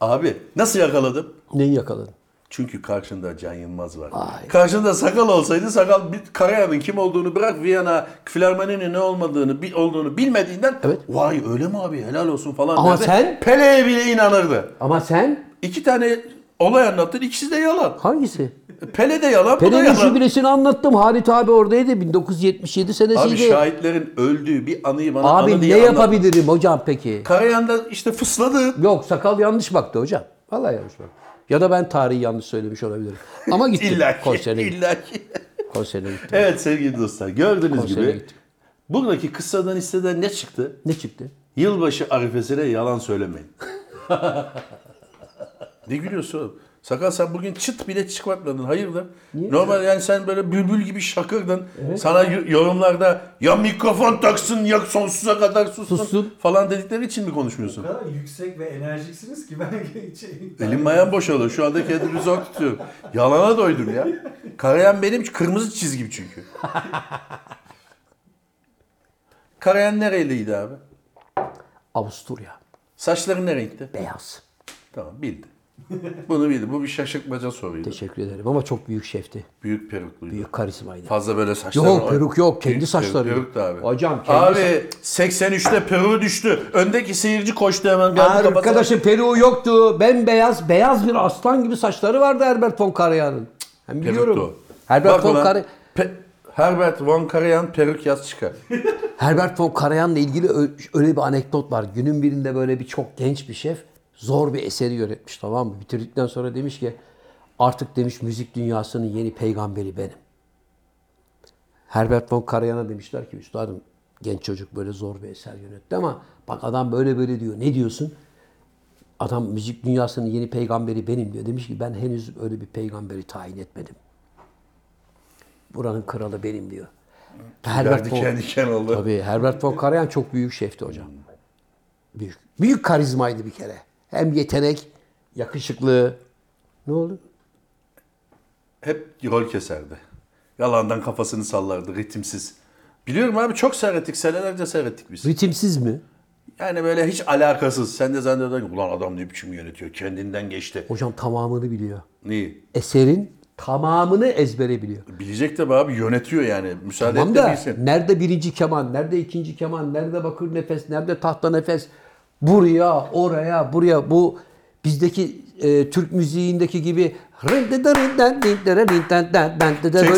Abi nasıl yakaladım?
Neyi yakaladın?
Çünkü karşında Can Yılmaz var.
Vay.
Karşında sakal olsaydı sakal bir Karayan'ın kim olduğunu bırak Viyana Filarmoni'nin ne olmadığını bi- olduğunu bilmediğinden
Evet.
vay öyle mi abi helal olsun falan
Ama
derdi.
sen-
Pele'ye bile inanırdı.
Ama sen
İki tane olay anlattın ikisi de yalan.
hangisi?
Pele de yalan bu da
Pele'nin
yalan.
şubresini anlattım. Halit abi oradaydı. 1977
Abi
senesiydi. Abi,
şahitlerin öldüğü bir anıyı bana anı
ne
diye anlat.
yapabilirim hocam peki?
Karayan'da işte fısladı.
Yok sakal yanlış baktı hocam. Vallahi yanlış baktı. Ya da ben tarihi yanlış söylemiş olabilirim. Ama gittim
<laughs> İlla ki.
konserine gittim.
illa ki.
Konserine gittim.
evet sevgili dostlar gördüğünüz
Konsere
gibi
gittim.
buradaki kıssadan hisseden ne çıktı?
Ne çıktı?
Yılbaşı arifesine
<laughs>
yalan söylemeyin. ne gülüyorsun oğlum? Sakal sen bugün çıt bile çıkmadın. Hayırdır? Normal yani sen böyle bülbül gibi şakırdın. Sana y- yorumlarda ya mikrofon taksın ya sonsuza kadar sussun,
Sussun.
falan dedikleri için mi
O
konuşmuyorsun?
kadar yüksek ve enerjiksiniz ki ben <laughs> şey,
Elim ayağım boşalıyor. Şu anda kendimi zor tutuyorum. Yalana doydum ya. Karayan benim kırmızı çizgim çünkü. Karayan nereliydi abi?
Avusturya.
Saçların ne renkti?
Beyaz.
Tamam bildi. Bunu bildi. Bu bir şaşırtmaca soruydu.
Teşekkür ederim ama çok büyük şefti.
Büyük perukluydu.
Büyük karizmaydı.
Fazla böyle saçları
Yok
var.
peruk yok kendi
Büyük
saçları.
Peruk, peruk da abi.
Hocam kendi sa-
Abi 83'te peru düştü. Öndeki seyirci koştu hemen. geldi, kapattı.
Arkadaşın peruğu yoktu. Bembeyaz, beyaz bir aslan gibi saçları vardı Herbert von Karajan'ın. Ben
Peruktu
biliyorum.
o.
Herbert
Bak
von,
ulan,
Kar-
Pe- Herbert von Karajan peruk yaz çıkar.
Herbert von Karajan'la ilgili ö- öyle bir anekdot var. Günün birinde böyle bir çok genç bir şef zor bir eseri yönetmiş tamam mı? Bitirdikten sonra demiş ki artık demiş müzik dünyasının yeni peygamberi benim. Herbert von Karajan'a demişler ki üstadım genç çocuk böyle zor bir eser yönetti ama bak adam böyle böyle diyor. Ne diyorsun? Adam müzik dünyasının yeni peygamberi benim diyor. Demiş ki ben henüz öyle bir peygamberi tayin etmedim. Buranın kralı benim diyor. Herbert von,
Diken diken oldu.
Tabii Herbert von Karajan çok büyük şefti hocam. Büyük. Büyük karizmaydı bir kere. Hem yetenek, yakışıklı. Ne oldu?
Hep rol keserdi. Yalandan kafasını sallardı ritimsiz. Biliyorum abi çok seyrettik. Senelerce seyrettik biz.
Ritimsiz mi?
Yani böyle hiç alakasız. Sen de zannediyorsun ki, ulan adam ne biçim yönetiyor. Kendinden geçti.
Hocam tamamını biliyor.
Neyi?
Eserin tamamını ezbere biliyor.
Bilecek de be abi yönetiyor yani. Müsaade
Tamam
et
da
bilsin.
nerede birinci keman, nerede ikinci keman, nerede bakır nefes, nerede tahta nefes. Buraya, oraya, buraya. Bu bizdeki e, Türk müziğindeki gibi böyle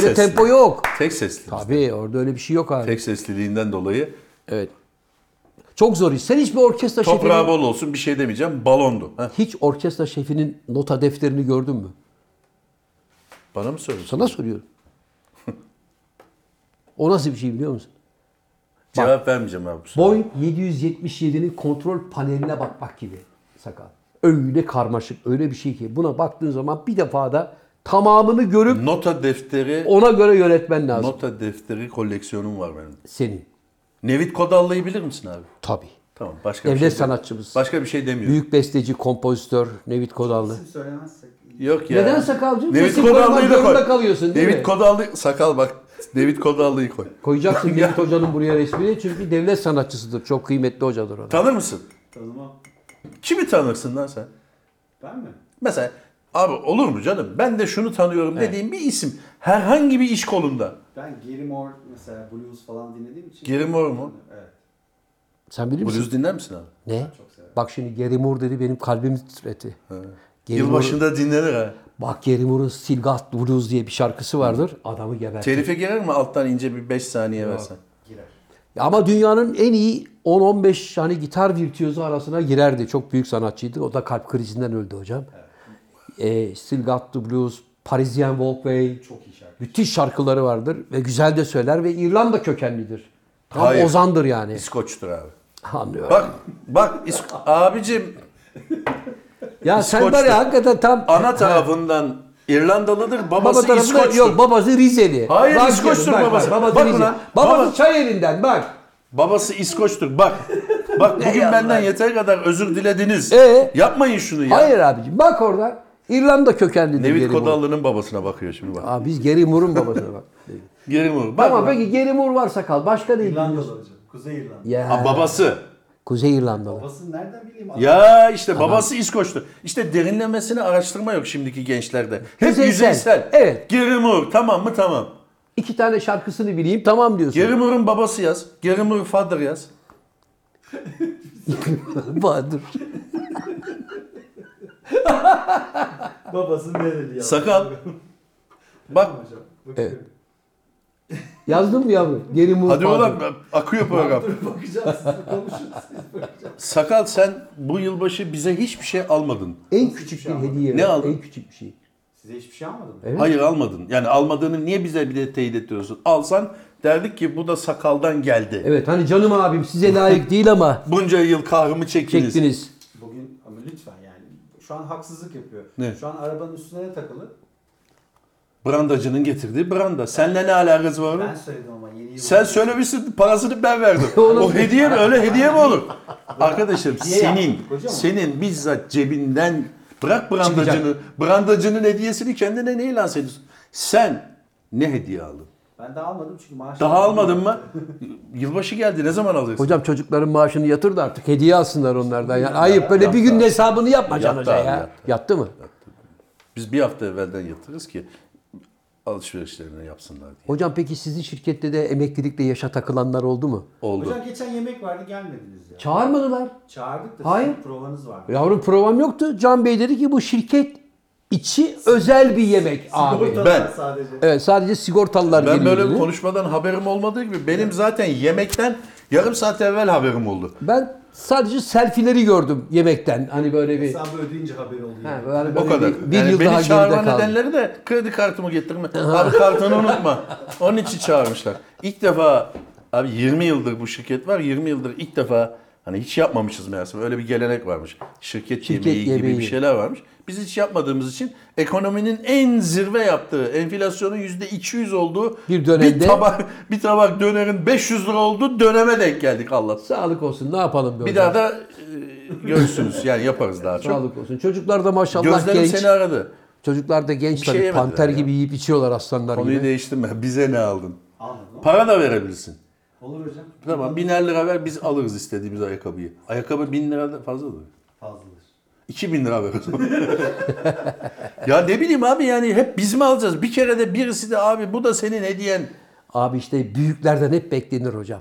sesli.
tempo yok.
Tek sesli.
Tabii orada öyle bir şey yok abi.
Tek sesliliğinden dolayı
Evet. Çok zor iş. Sen hiçbir orkestra
toprağı
şefinin,
bol olsun bir şey demeyeceğim. Balondu. Heh,
hiç orkestra şefinin nota defterini gördün mü?
bana mı söylüyorsun?
Sana soruyorum. o nasıl bir şey biliyor musun?
Cevap vermeyeceğim abi. bu sefer.
Boeing 777'nin kontrol paneline bakmak gibi sakal. Öyle karmaşık, öyle bir şey ki buna baktığın zaman bir defa da tamamını görüp
Nota defteri
ona göre yönetmen lazım.
nota defteri koleksiyonum var benim.
Senin.
Nevit Kodallı'yı bilir misin abi?
Tabii.
Tamam başka
Devlet
bir şey de-
sanatçımız.
Başka bir şey demiyorum.
Büyük besteci, kompozitör Nevit
<laughs>
Kodallı.
isim söylemezsek. iyi.
Yok ya.
Neden sakalcığım?
Nevit
Resim koymak
Kodallı'yı da
zorunda
koy.
kalıyorsun, değil mi?
Nevit Kodallı sakal bak. Nevit Kodallı'yı koy.
Koyacaksın Nevit Hoca'nın buraya resmini çünkü devlet sanatçısıdır. Çok kıymetli hocadır o. da.
Tanır mısın?
Tanımam.
Kimi tanırsın lan sen?
Ben mi?
Mesela abi olur mu canım? Ben de şunu tanıyorum dediğim bir isim. Herhangi bir iş kolunda.
Ben Gary Moore mesela blues falan dinlediğim için.
Gary Moore mu?
Evet.
Sen bilir misin?
Blues dinler misin abi?
Ne?
Çok severim.
Bak şimdi Gary Moore dedi benim kalbim titredi. Gary Moore'un-
Yılbaşında dinlenir ha.
bak Gary Moore'un Silgat Blues diye bir şarkısı vardır. Adamı gebertir.
Telife girer mi alttan ince bir 5 saniye versen?
Girer.
Ama dünyanın en iyi 10-15 hani gitar virtüözü arasına girerdi. Çok büyük sanatçıydı. O da kalp krizinden öldü hocam. Ee, Still Got the Blues, Parisian Walkway.
Çok iyi şarkı.
Müthiş şarkıları vardır ve güzel de söyler ve İrlanda kökenlidir. Tam
Hayır.
Ozan'dır yani.
İskoç'tur abi.
Anlıyorum.
Bak bak İsk- abicim
ya sen
İskoç'ta.
var ya hakikaten tam
ana tarafından İrlandalıdır babası
baba tarafında
İskoç'tur.
yok babası Rizeli.
Hayır,
Bak
İskoç'tur
canım, bak,
babası.
Bak, babası
Bak
Rizeli.
ulan,
Babası
baba-
Çayeli'nden bak.
Babası İskoç'tur. Bak. Bak bugün benden yeter kadar özür dilediniz.
Ee?
Yapmayın şunu ya.
Hayır abicim bak orada İrlanda kökenli
David
Gary Moore.
Kodallı'nın babasına bakıyor şimdi bak.
Aa, biz Gary Moore'un babasına bak.
Geri mi? <laughs> Bak.
tamam
lan.
peki Gary Moore varsa kal. Başka değil.
İrlandalı hocam. Kuzey İrlanda.
Ya.
Ha, babası.
Kuzey İrlandalı.
Babası nereden bileyim? adam?
Ya işte babası İskoç'tu. İşte derinlemesine araştırma yok şimdiki gençlerde. Hep
Yüzeysel.
yüzeysel.
Evet.
Gerimur tamam mı tamam.
İki tane şarkısını bileyim tamam diyorsun.
Gerimur'un babası yaz. Gerimur father yaz.
<laughs> Bahadır.
Babası nereli ya?
Sakal. Bak
Hocam.
Evet. Yazdın mı yavrum? Gary Moore
hadi
Bahadır.
oğlum akıyor program.
<laughs> Dur bakacağız. Siz konuşun.
<laughs>
Siz bakacağız.
Sakal sen bu yılbaşı bize hiçbir şey almadın.
En küçük bir hediye.
Ne
ver,
aldın?
En küçük bir şey.
Size hiçbir şey almadım mı?
Evet.
Hayır almadın. Yani almadığını niye bize bir de teyit ettiriyorsun? Alsan derdik ki bu da sakaldan geldi.
Evet hani canım abim size layık değil ama
Bunca yıl kahrımı çektiniz.
çektiniz.
Bugün ama lütfen yani. Şu an haksızlık yapıyor.
Ne?
Şu an arabanın üstüne de takılı.
Brandacının getirdiği branda. Seninle ne alakası var?
Ben söyledim ama yeni yıl.
Sen söylemişsin parasını ben verdim.
<laughs> Oğlum.
o hediye mi? Öyle hediye mi
<laughs>
olur? Arkadaşım
Niye
senin
yaptık hocam?
senin bizzat cebinden bırak brandacını. Brandacının hediyesini kendine neyle lanse ediyorsun? Sen ne hediye aldın?
Ben daha almadım çünkü maaş
Daha
<laughs>
almadın mı? Yılbaşı geldi. Ne zaman alacaksın?
Hocam çocukların maaşını yatır da artık hediye alsınlar onlardan. Yani ayıp böyle bir günün hesabını yapma Can
Yattı
Hoca
abi,
ya.
yattı.
Yattı mı?
Biz bir hafta evvelden yatırız ki alışverişlerini yapsınlar diye.
Hocam peki sizin şirkette de emeklilikle yaşa takılanlar oldu mu?
Oldu.
Hocam geçen yemek vardı gelmediniz ya.
Çağırmadılar.
Çağırdık da
Hayır.
sizin provanız vardı.
Yavrum program yoktu. Can Bey dedi ki bu şirket içi özel bir yemek abi.
Sigortalar
ben-
sadece.
Evet sadece sigortalılar
Ben
geliyor
böyle
dedi.
konuşmadan haberim olmadığı gibi benim zaten yemekten yarım saat evvel haberim oldu.
Ben sadece selfileri gördüm yemekten. Hani böyle bir...
Hesabı ödeyince haberi oluyor.
Ha, böyle
O
böyle
kadar.
Bir, bir
Yani
yıl
beni
daha geride
çağırma
kaldı.
nedenleri de kredi kartımı getirme. abi kartını unutma. Onun için çağırmışlar. İlk defa abi 20 yıldır bu şirket var. 20 yıldır ilk defa hani hiç yapmamışız meğerse. Öyle bir gelenek varmış. Şirket,
Şirket
yemeği, gibi
yemeği.
bir şeyler varmış. Biz hiç yapmadığımız için ekonominin en zirve yaptığı, enflasyonun %200 olduğu
Bir dönemde-
bir tabak, bir tabak dönerin 500 lira olduğu döneme denk geldik Allah.
Sağlık olsun ne yapalım böyle.
Bir daha da e, görürsünüz yani yaparız daha çok.
Sağlık olsun. Çocuklar da maşallah
Gözlerim
genç.
seni aradı.
Çocuklar da genç
şey
tabii.
yemediler
panter
ya.
gibi yiyip içiyorlar aslanlar
Konuyu
gibi.
değiştirme. <laughs> Bize ne aldın?
Almadın mı?
Para da verebilirsin.
Olur hocam.
Tamam biner lira ver biz alırız istediğimiz ayakkabıyı. Ayakkabı bin liradan fazladır.
Fazladır.
İki bin lira ver o zaman. <laughs> ya ne bileyim abi yani hep biz mi alacağız? Bir kere de birisi de abi bu da senin hediyen.
Abi işte büyüklerden hep beklenir hocam.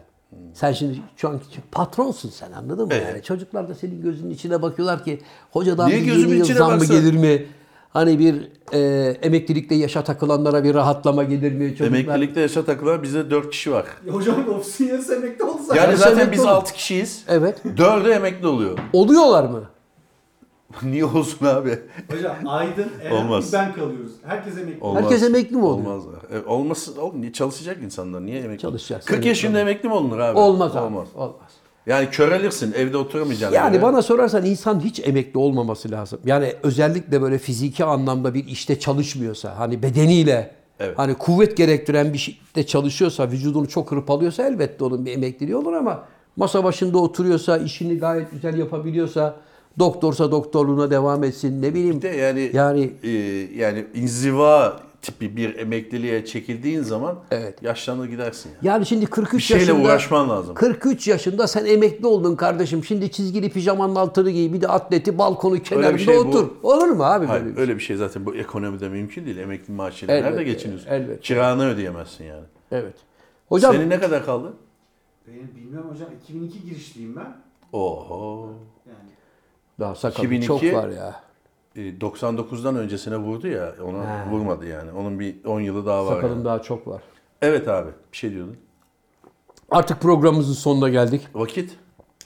Sen şimdi şu an patronsun sen anladın mı?
Evet.
Yani çocuklar da senin gözünün içine bakıyorlar ki hocadan
Niye
bir yeni
gözümün
yıl
içine
zam mı
baksın?
gelir mi? Hani bir e, emeklilikte yaşa takılanlara bir rahatlama gelir mi? Çocuklar...
Emeklilikte yaşa takılan bizde dört kişi var.
Ya hocam ofisin yarısı emekli oldu zaten.
Yani
Yarısı
zaten
emekli
biz
olur.
altı kişiyiz.
Evet.
Dördü emekli oluyor. <laughs>
Oluyorlar mı?
Niye olsun abi?
Hocam Aydın, Eren,
Olmaz.
biz ben kalıyoruz. Herkes emekli.
Olmaz.
Herkes emekli mi oluyor?
Olmaz. E, olmasın. Oğlum, niye çalışacak insanlar. Niye emekli?
Çalışacak.
40 yaşında emekli mi olunur abi?
Olmaz abi.
Olmaz.
Olmaz.
Yani körelirsin. Evde oturamayacaksın.
Yani
Öyle.
bana sorarsan insan hiç emekli olmaması lazım. Yani özellikle böyle fiziki anlamda bir işte çalışmıyorsa, hani bedeniyle
Evet.
hani kuvvet gerektiren bir işte çalışıyorsa, vücudunu çok hırpalıyorsa elbette onun bir emekliliği olur ama masa başında oturuyorsa, işini gayet güzel yapabiliyorsa, doktorsa doktorluğuna devam etsin ne bileyim.
Bir de yani
Yani-
yani yani inziva tipi bir emekliliğe çekildiğin zaman
Evet.
yaşlanır gidersin yani.
Yani şimdi 43
Bir şeyle
yaşında
uğraşman lazım.
43 yaşında sen emekli oldun kardeşim. Şimdi çizgili pijamanın altını giy, bir de atleti balkonu kenarında
şey bu-
otur. Olur mu abi böyle?
Hayır,
bir şey?
öyle bir şey zaten bu ekonomide mümkün değil. Emekli maaşıyla
Elbette,
nerede geçiniyorsun?
elbette.
Kiranı ödeyemezsin yani.
Evet. Hocam
Senin ne kadar kaldı?
Benim bilmiyorum hocam 2002 girişliyim ben.
Oho.
Yani
Daha sakal
2002
çok var ya.
E, 99'dan öncesine vurdu ya. Ona vurmadı yani. Onun bir 10 yılı daha var.
Sakalım
yani.
daha çok var.
Evet abi. Bir şey diyordun.
Artık programımızın sonuna geldik.
Vakit.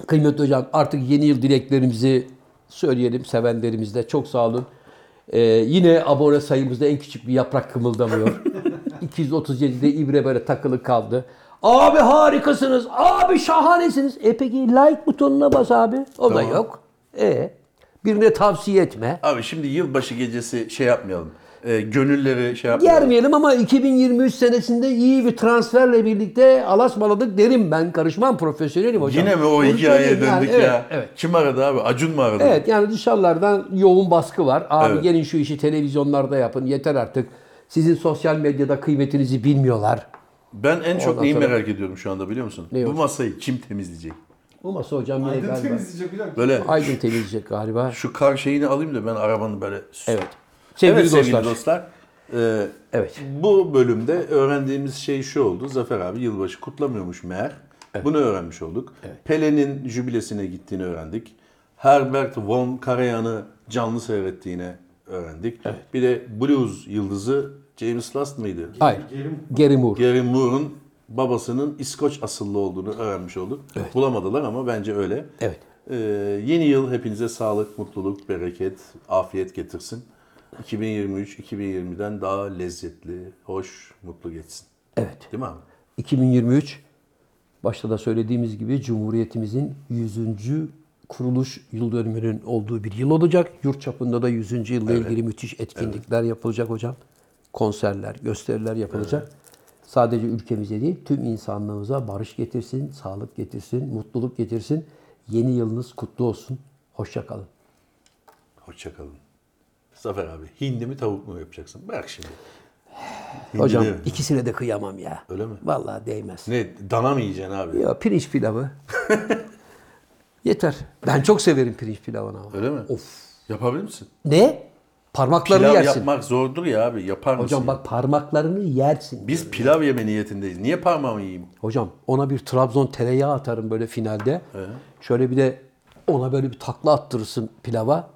Kıymetli hocam artık yeni yıl dileklerimizi söyleyelim sevenlerimizle. Çok sağ olun. Ee, yine abone sayımızda en küçük bir yaprak kımıldamıyor. 237'de ibre böyle takılı kaldı. Abi harikasınız. Abi şahanesiniz. E peki like butonuna bas abi. O da yok. E birine tavsiye etme.
Abi şimdi yılbaşı gecesi şey yapmayalım. E, gönülleri şey yapmayalım.
Germeyelim ama 2023 senesinde iyi bir transferle birlikte alasmaladık derim ben. Karışmam profesyonelim hocam.
Yine mi o
Onu
hikayeye
söyleyeyim
döndük
yani.
ya?
Evet, evet.
Kim aradı abi? Acun mu aradı?
Evet yani dışarılardan yoğun baskı var. Abi
Evet.
gelin şu işi televizyonlarda yapın. Yeter artık. Sizin sosyal medyada kıymetinizi bilmiyorlar.
Ben en çok
Ondan
neyi
sonra-
merak ediyorum şu anda biliyor musun?
Ne
Bu
hocam?
masayı kim temizleyecek?
Bu masa hocam yine
Aydın
galiba.
temizleyecek hocam.
Böyle
Aydın temizleyecek galiba.
şu kar şeyini alayım da ben arabanı böyle...
Evet. Sevgili
Sevgili evet sevgili
dostlar.
dostlar. e,
Evet.
Bu bölümde öğrendiğimiz şey şu oldu. Zafer abi yılbaşı kutlamıyormuş meğer. Bunu öğrenmiş olduk. Pelé'nin jübilesine gittiğini öğrendik. Herbert von Karajan'ı canlı seyrettiğini öğrendik. Bir de blues yıldızı James Last mıydı?
Hayır.
Gelim.
Gary Moore.
Gary Moore'un babasının İskoç asıllı olduğunu öğrenmiş olduk. Bulamadılar ama bence öyle.
Evet.
Ee, yeni yıl hepinize sağlık, mutluluk, bereket, afiyet getirsin. 2023 2020'den daha lezzetli, hoş, mutlu geçsin.
Evet.
Değil mi abi?
2023 başta da söylediğimiz gibi Cumhuriyetimizin 100. kuruluş yıl dönümünün olduğu bir yıl olacak. Yurt çapında da 100. yılla ilgili müthiş etkinlikler yapılacak hocam. Konserler, gösteriler yapılacak. Sadece ülkemize değil, tüm insanlığımıza barış getirsin, sağlık getirsin, mutluluk getirsin. Yeni yılınız kutlu olsun. Hoşça kalın.
Hoşça kalın. Zafer abi, hindi mi tavuk mu yapacaksın? Bırak şimdi. Hindi
Hocam
değil mi?
ikisine de kıyamam ya.
Öyle mi?
Vallahi değmez.
Ne, dana mı yiyeceksin abi?
Ya pirinç
<laughs>
pilavı. Yeter. Ben çok severim pirinç pilavını ama.
Öyle mi?
Of.
Yapabilir misin?
Ne? Parmaklarını
Pilav
yersin.
yapmak zordur ya abi. Yapar mısın?
Hocam bak parmaklarını yersin.
Biz pilav yeme niyetindeyiz. Niye parmağımı yiyeyim?
Hocam ona bir Trabzon tereyağı atarım böyle finalde. Şöyle bir de ona böyle bir takla attırırsın pilava.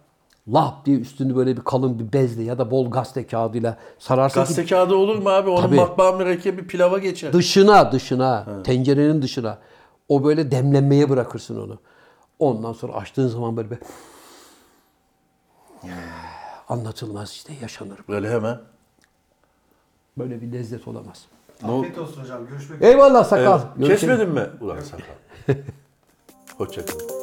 Lap diye üstünü böyle bir kalın bir bezle ya da bol gazete kağıdıyla sararsın ki
Gazete kağıdı olur mu abi? Onun
Tabii.
matbaa mürekkebi pilava geçer.
Dışına, dışına, tencerenin dışına. O böyle demlenmeye bırakırsın onu. Ondan sonra açtığın zaman böyle bir <sighs> anlatılmaz işte yaşanır.
Böyle hemen.
Böyle bir lezzet olamaz.
Afiyet olsun hocam. Görüşmek üzere.
Eyvallah sakal.
Kesmedin mi? Ulan sakal. Hoşçakalın.